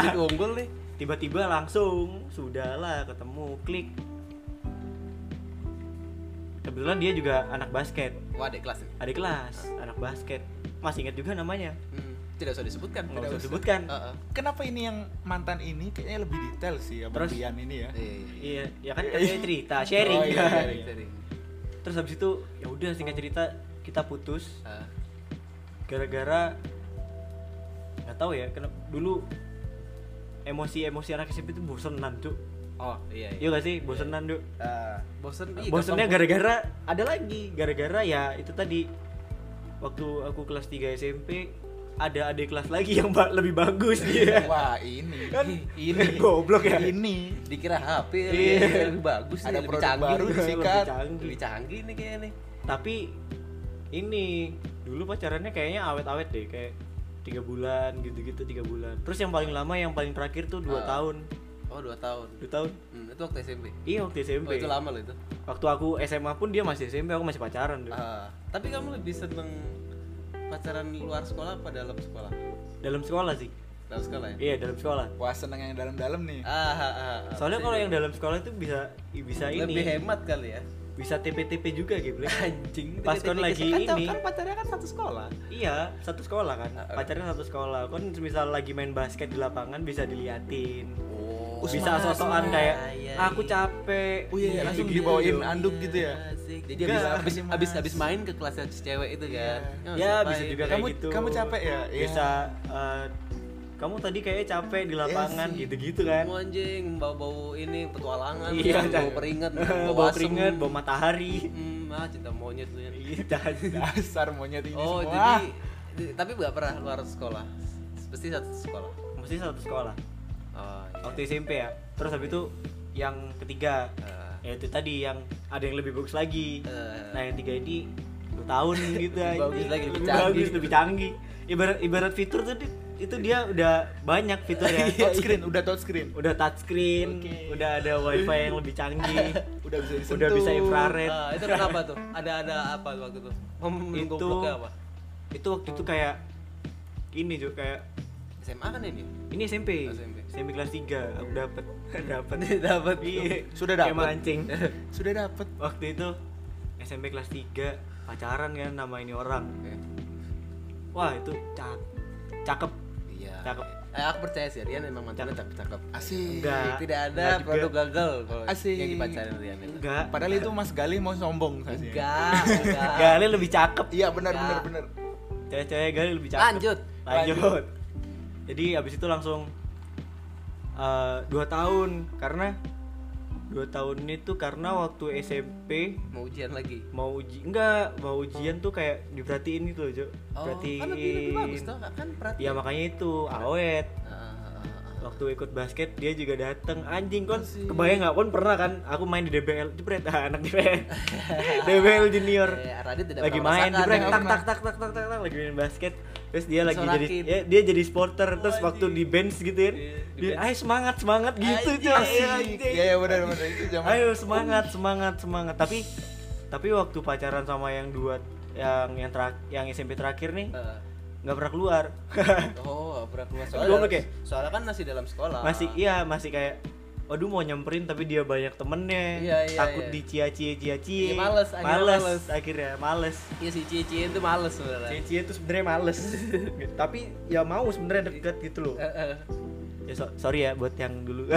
Speaker 1: Bibit unggul nih.
Speaker 3: Tiba-tiba langsung sudahlah ketemu, klik. Kebetulan dia juga anak basket.
Speaker 1: Wah, adik kelas nih.
Speaker 3: Adik kelas, anak basket. Masih ingat juga namanya.
Speaker 1: Hmm, Tidak usah disebutkan,
Speaker 3: Nggak
Speaker 1: tidak
Speaker 3: usah
Speaker 1: usah.
Speaker 3: sebutkan.
Speaker 1: Heeh.
Speaker 2: Kenapa ini yang mantan ini kayaknya lebih detail sih ya
Speaker 3: Terus?
Speaker 2: Brian ini ya.
Speaker 1: Iya, iya.
Speaker 3: Iya, ya kan katanya cerita, sharing.
Speaker 2: Oh, iya, sharing.
Speaker 1: Sering.
Speaker 3: Terus habis itu ya udah singkat cerita kita putus
Speaker 1: Ah.
Speaker 3: gara-gara nggak tahu ya kenapa dulu emosi-emosi anak SMP itu bosenan tuh
Speaker 1: Oh, iya iya.
Speaker 3: Iya gak sih bosenan tuh
Speaker 1: Ah, Bosen ih,
Speaker 3: bosennya
Speaker 1: Iya, gampang
Speaker 3: gara-gara ada lagi gara-gara ya itu tadi waktu aku kelas 3 SMP ada adik kelas lagi yang ba- lebih bagus dia
Speaker 2: Wah ini.
Speaker 3: kan
Speaker 1: Ini.
Speaker 3: goblok ya
Speaker 2: ini.
Speaker 1: dikira HP
Speaker 3: Iya.
Speaker 1: ya, lebih bagus
Speaker 2: Ada
Speaker 1: nih, lebih
Speaker 2: produk
Speaker 1: canggih
Speaker 2: baru
Speaker 3: Lebih
Speaker 2: disikat.
Speaker 3: canggih.
Speaker 1: lebih canggih nih kayaknya nih
Speaker 3: tapi ini dulu pacarannya kayaknya awet-awet deh kayak tiga bulan gitu-gitu tiga bulan terus yang paling lama yang paling terakhir tuh
Speaker 1: Ah.
Speaker 3: dua tahun
Speaker 1: oh dua tahun
Speaker 3: dua tahun
Speaker 1: hmm, itu waktu SMP
Speaker 3: iya waktu SMP
Speaker 1: oh itu lama loh itu
Speaker 3: waktu aku SMA pun dia masih SMP aku masih pacaran tuh.
Speaker 1: Ah, tapi kamu lebih seneng pacaran luar sekolah apa dalam sekolah
Speaker 3: dalam sekolah sih
Speaker 1: dalam sekolah ya
Speaker 3: iya dalam sekolah
Speaker 2: Wah seneng yang dalam-dalam nih.
Speaker 1: ah, ah, ah, ah.
Speaker 3: soalnya kalau yang dalam sekolah itu bisa bisa ini
Speaker 1: lebih hemat kali ya
Speaker 3: bisa TPTP juga gitu
Speaker 1: anjing
Speaker 3: Pas
Speaker 1: tiga-tiga
Speaker 3: kon lagi
Speaker 1: sekolah. Kan-
Speaker 3: ini.
Speaker 1: kan pacarnya kan satu sekolah
Speaker 3: iya satu sekolah kan
Speaker 1: Ah, ah.
Speaker 3: pacarnya satu sekolah kan misal lagi main basket di lapangan bisa diliatin
Speaker 1: oh
Speaker 3: bisa
Speaker 2: Usman,
Speaker 3: sosokan
Speaker 1: Usman.
Speaker 3: kayak
Speaker 1: Iya,
Speaker 3: aku
Speaker 1: iya.
Speaker 3: capek Gitu,
Speaker 2: Oh iya, iya, langsung dibawain anduk gitu ya.
Speaker 1: Asik. Jadi habis
Speaker 2: Enggak,
Speaker 1: habis
Speaker 2: Mas.
Speaker 1: habis habis main ke kelas yang cewek itu kan. Mas,
Speaker 2: Iya.
Speaker 3: ya
Speaker 1: ngapain?
Speaker 3: bisa juga
Speaker 2: Kamu-
Speaker 3: kayak gitu
Speaker 2: kamu capek ya? Iya.
Speaker 3: bisa eh, kamu tadi kayaknya capek
Speaker 1: Iya
Speaker 3: di lapangan
Speaker 2: sih.
Speaker 3: gitu-gitu kan
Speaker 1: Mau anjing bau-bau ini petualangan,
Speaker 3: iya
Speaker 1: kan, bau
Speaker 3: Cak.
Speaker 1: peringat,
Speaker 3: bau
Speaker 1: asem.
Speaker 3: keringet bau matahari
Speaker 1: Hmm, ah, cinta monyet tuh ya.
Speaker 3: Iya, Cak.
Speaker 2: dasar monyet ini
Speaker 1: Oh,
Speaker 2: semua
Speaker 1: jadi di- tapi nggak pernah luar sekolah. Pasti satu sekolah.
Speaker 3: mesti satu sekolah
Speaker 1: Oh, iya.
Speaker 3: waktu SMP ya terus habis itu yang ketiga
Speaker 1: Eh,
Speaker 3: ya itu tadi yang ada yang lebih bagus lagi
Speaker 1: Eh.
Speaker 3: nah yang tiga ini bertahun
Speaker 1: Lebih
Speaker 3: gitu aja.
Speaker 1: bagus lagi, lebih
Speaker 3: lebih
Speaker 1: canggih.
Speaker 3: bagus lebih canggih ibarat ibarat fitur tuh di- itu dia udah banyak
Speaker 1: Iya,
Speaker 3: fiturnya
Speaker 2: touchscreen udah touchscreen
Speaker 3: udah touchscreen
Speaker 2: Oke.
Speaker 3: udah ada wifi yang lebih canggih
Speaker 2: udah bisa disentuh
Speaker 3: udah bisa infrared
Speaker 1: ah, itu kenapa tuh? Ada ada apa waktu itu? Mem-
Speaker 3: itu
Speaker 1: gobloknya apa?
Speaker 3: itu waktu itu kayak ini juga kayak
Speaker 1: SMA kan ini?
Speaker 3: ini SMP
Speaker 1: Oh, SMP.
Speaker 3: SMP kelas 3 aku dapat dapat
Speaker 1: Dapat.
Speaker 3: Iya.
Speaker 2: Sudah
Speaker 3: Kayak
Speaker 2: dapet.
Speaker 3: mancing
Speaker 2: sudah dapet
Speaker 3: waktu itu SMP kelas 3 pacaran kan nama ini orang
Speaker 1: Oke.
Speaker 3: wah itu cak cakep
Speaker 1: Iya.
Speaker 3: Cakep.
Speaker 1: Eh, aku percaya sih Rian emang mantannya cakep cakep.
Speaker 2: asik
Speaker 3: Enggak.
Speaker 1: Tidak ada
Speaker 3: Enggak juga.
Speaker 1: produk gagal kalau
Speaker 2: Asik.
Speaker 1: yang dipacarin Rian itu.
Speaker 3: enggak
Speaker 2: padahal itu Mas Galih mau sombong saja
Speaker 1: Enggak, enggak.
Speaker 3: Gali lebih cakep
Speaker 2: iya benar benar
Speaker 1: Enggak.
Speaker 2: benar
Speaker 3: cewek-cewek Gali lebih cakep
Speaker 1: Lanjut.
Speaker 3: lanjut, jadi abis itu langsung eh, dua tahun karena dua tahun itu karena waktu SMP
Speaker 1: Mau ujian lagi.
Speaker 3: mau uji enggak mau ujian tuh kayak diperhatiin gitu loh Jo
Speaker 1: Oh,
Speaker 3: perhatiin
Speaker 1: kan lebih, lebih bagus tuh kan perhati.
Speaker 3: ya makanya itu awet
Speaker 1: Ah, ah, ah.
Speaker 3: waktu ikut basket dia juga dateng anjing kon kebayang nggak kon pernah kan aku main di DBL jepret ah, anak DBL DBL junior
Speaker 1: Eh, Radit tidak
Speaker 3: lagi
Speaker 1: pernah ya.
Speaker 3: main
Speaker 1: merasakan
Speaker 3: jepret
Speaker 1: yang
Speaker 3: tak tak
Speaker 1: namanya.
Speaker 3: tak tak tak tak tak, lagi main basket terus dia lagi jadi
Speaker 1: Disorakin.
Speaker 3: ya, dia jadi sporter terus waktu di bench gitu
Speaker 2: Iya,
Speaker 3: ya
Speaker 1: di
Speaker 3: dia ayo semangat semangat gitu
Speaker 1: Anjing.
Speaker 3: coy
Speaker 2: asik
Speaker 3: Anjing.
Speaker 2: iya iya benar benar itu zaman
Speaker 3: ayo semangat semangat semangat tapi tapi waktu pacaran sama yang dua yang yang terak- yang SMP terakhir nih
Speaker 1: Eh,
Speaker 3: nggak pernah keluar
Speaker 1: Oh, berapa keluar
Speaker 3: Goblok ya?
Speaker 1: soalnya? Soalnya kan masih dalam sekolah.
Speaker 3: masih iya masih kayak waduh mau nyamperin tapi dia banyak temennya
Speaker 1: Iya, iya,
Speaker 3: takut
Speaker 1: iya.
Speaker 3: dicia-cie cia-cie
Speaker 1: Iya, males, akhirnya
Speaker 3: males,
Speaker 1: males.
Speaker 3: akhirnya males
Speaker 1: Iya si Cici itu males sebenarnya.
Speaker 3: cie-cie itu sebenarnya males tapi ya mau sebenarnya deket gitu loh
Speaker 1: Eh, eh.
Speaker 3: ya so- sorry ya buat yang dulu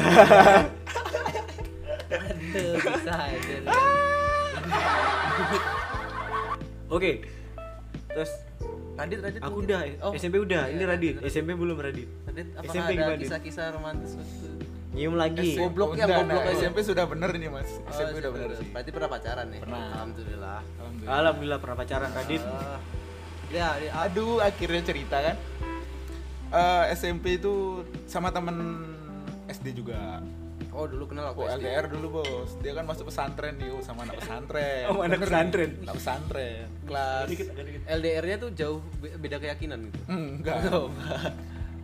Speaker 1: Aduh, bisa aja. Rian.
Speaker 3: oke terus
Speaker 1: Radit, Radit.
Speaker 3: aku
Speaker 1: mungkin.
Speaker 3: udah
Speaker 1: Oh,
Speaker 3: SMP udah
Speaker 1: iya,
Speaker 3: ini Radit SMP belum Radit
Speaker 1: Radit, apakah
Speaker 3: SMP
Speaker 1: ada
Speaker 3: gimana, Dit?
Speaker 1: kisah-kisah romantis waktu itu?
Speaker 3: nyium lagi
Speaker 1: SMP. Goblok yang
Speaker 2: Udah,
Speaker 1: goblok
Speaker 2: nah,
Speaker 1: aja.
Speaker 2: SMP sudah bener ini mas
Speaker 1: Oh,
Speaker 2: SMP udah
Speaker 1: SMP
Speaker 2: bener sih
Speaker 1: Berarti pernah pacaran ya?
Speaker 2: Pernah.
Speaker 1: Alhamdulillah.
Speaker 2: Alhamdulillah.
Speaker 3: alhamdulillah pernah pacaran Radit
Speaker 1: Ah. ya, di- ah,
Speaker 2: aduh akhirnya cerita kan Eh, SMP itu sama temen SD juga
Speaker 1: oh dulu kenal aku
Speaker 2: aku
Speaker 1: SD.
Speaker 2: LDR dulu bos dia kan masuk pesantren nih oh, sama anak pesantren
Speaker 3: Oh,
Speaker 2: Bener
Speaker 3: anak
Speaker 2: nih,
Speaker 3: pesantren.
Speaker 2: anak pesantren
Speaker 1: Kelas
Speaker 3: Dikit, agak dikit.
Speaker 1: LDR-nya tuh jauh be- beda keyakinan gitu.
Speaker 2: enggak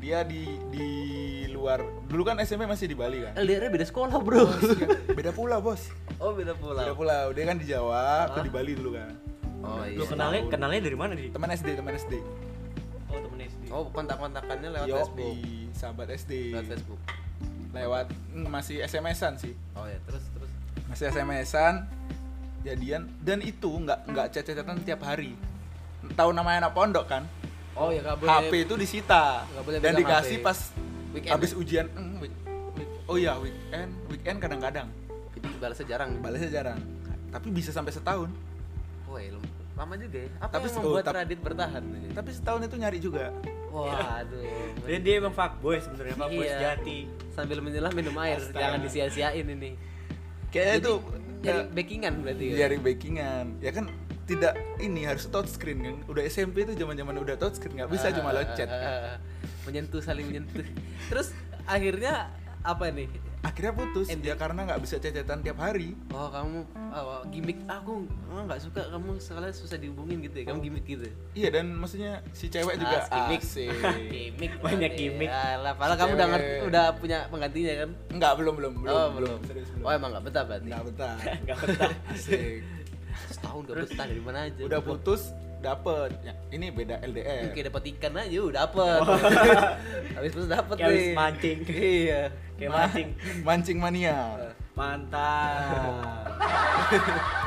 Speaker 2: dia di di luar dulu kan SMP masih di Bali kan
Speaker 1: LDR-nya beda sekolah, Bro.
Speaker 2: beda pulau bos
Speaker 1: oh, beda pulau.
Speaker 2: beda pulau dia kan di Jawa aku di Bali dulu kan
Speaker 1: Oh iya.
Speaker 3: lu kenalnya kenalnya dari mana Dit?
Speaker 2: teman SD teman SD
Speaker 3: oh temen SD
Speaker 1: Oh, kontak-kontakannya lewat
Speaker 2: Yo,
Speaker 1: Facebook.
Speaker 2: di sahabat SD
Speaker 1: Lewat Facebook.
Speaker 2: lewat mm, masih SMS-an sih
Speaker 1: Oh ya, terus terus.
Speaker 2: masih SMS-an jadian dan itu nggak nggak chat-chatan tiap hari tahu namanya anak pondok kan
Speaker 1: Oh ya, nggak boleh.
Speaker 2: HP itu disita
Speaker 1: Nggak boleh
Speaker 2: dan
Speaker 1: pegang
Speaker 2: dikasih
Speaker 1: HP.
Speaker 2: pas
Speaker 1: Weekend.
Speaker 2: habis ujian Mm, week- week- oh iya weekend weekend kadang-kadang
Speaker 1: Itu balasnya jarang. nih.
Speaker 2: balasnya jarang tapi bisa sampai setahun
Speaker 1: Wah, ya, lum- lama juga ya. Apa yang
Speaker 2: Tapi se-
Speaker 1: membuat
Speaker 2: oh, tapi-
Speaker 1: Radit bertahan? nih?
Speaker 2: tapi setahun itu nyari juga
Speaker 1: Waduh.
Speaker 3: dia dia emang fuckboy sebenarnya fuckboy
Speaker 1: Iya.
Speaker 3: sejati
Speaker 1: Sambil menyelam minum air,
Speaker 2: Astaga.
Speaker 1: jangan disia-siain ini.
Speaker 2: kayaknya itu
Speaker 1: Jadi backingan berarti. ya?
Speaker 2: eh, nyari backingan ya kan tidak ini harus touchscreen kan udah SMP itu zaman zaman udah touchscreen nggak bisa cuma
Speaker 1: Ah,
Speaker 2: locet
Speaker 1: ah, ah, ah. menyentuh saling menyentuh. Terus akhirnya apa nih?
Speaker 2: akhirnya putus ya karena nggak bisa cecetan tiap hari
Speaker 1: Oh kamu oh, gimmick aku ah, nggak suka kamu sekali susah dihubungin gitu ya kamu gimmick gitu.
Speaker 2: iya dan maksudnya si cewek juga
Speaker 1: Ah, gimmick.
Speaker 2: asik.
Speaker 1: gimmick
Speaker 3: Banyak
Speaker 1: berarti.
Speaker 3: gimmick.
Speaker 1: Alah, padahal kamu udah ngerti,
Speaker 2: Cewek.
Speaker 1: udah punya penggantinya kan?
Speaker 2: nggak belum belum belum
Speaker 1: oh belum.
Speaker 2: serius
Speaker 1: Oh
Speaker 2: belum
Speaker 1: emang nggak betah berarti.
Speaker 2: nggak betah
Speaker 3: nggak betah
Speaker 2: asik
Speaker 1: Setahun nggak betah dari mana aja.
Speaker 2: udah putus ya? dapet Ya, ini beda LDR
Speaker 1: Oke dapat ikan aja udah dapet.
Speaker 2: Oh.
Speaker 1: Habis putus dapet
Speaker 3: Kayak habis
Speaker 1: nih.
Speaker 3: mancing.
Speaker 1: Iya.
Speaker 3: kayak
Speaker 2: Ma-
Speaker 1: Ah.
Speaker 3: mancing
Speaker 2: mancing mania
Speaker 3: mantap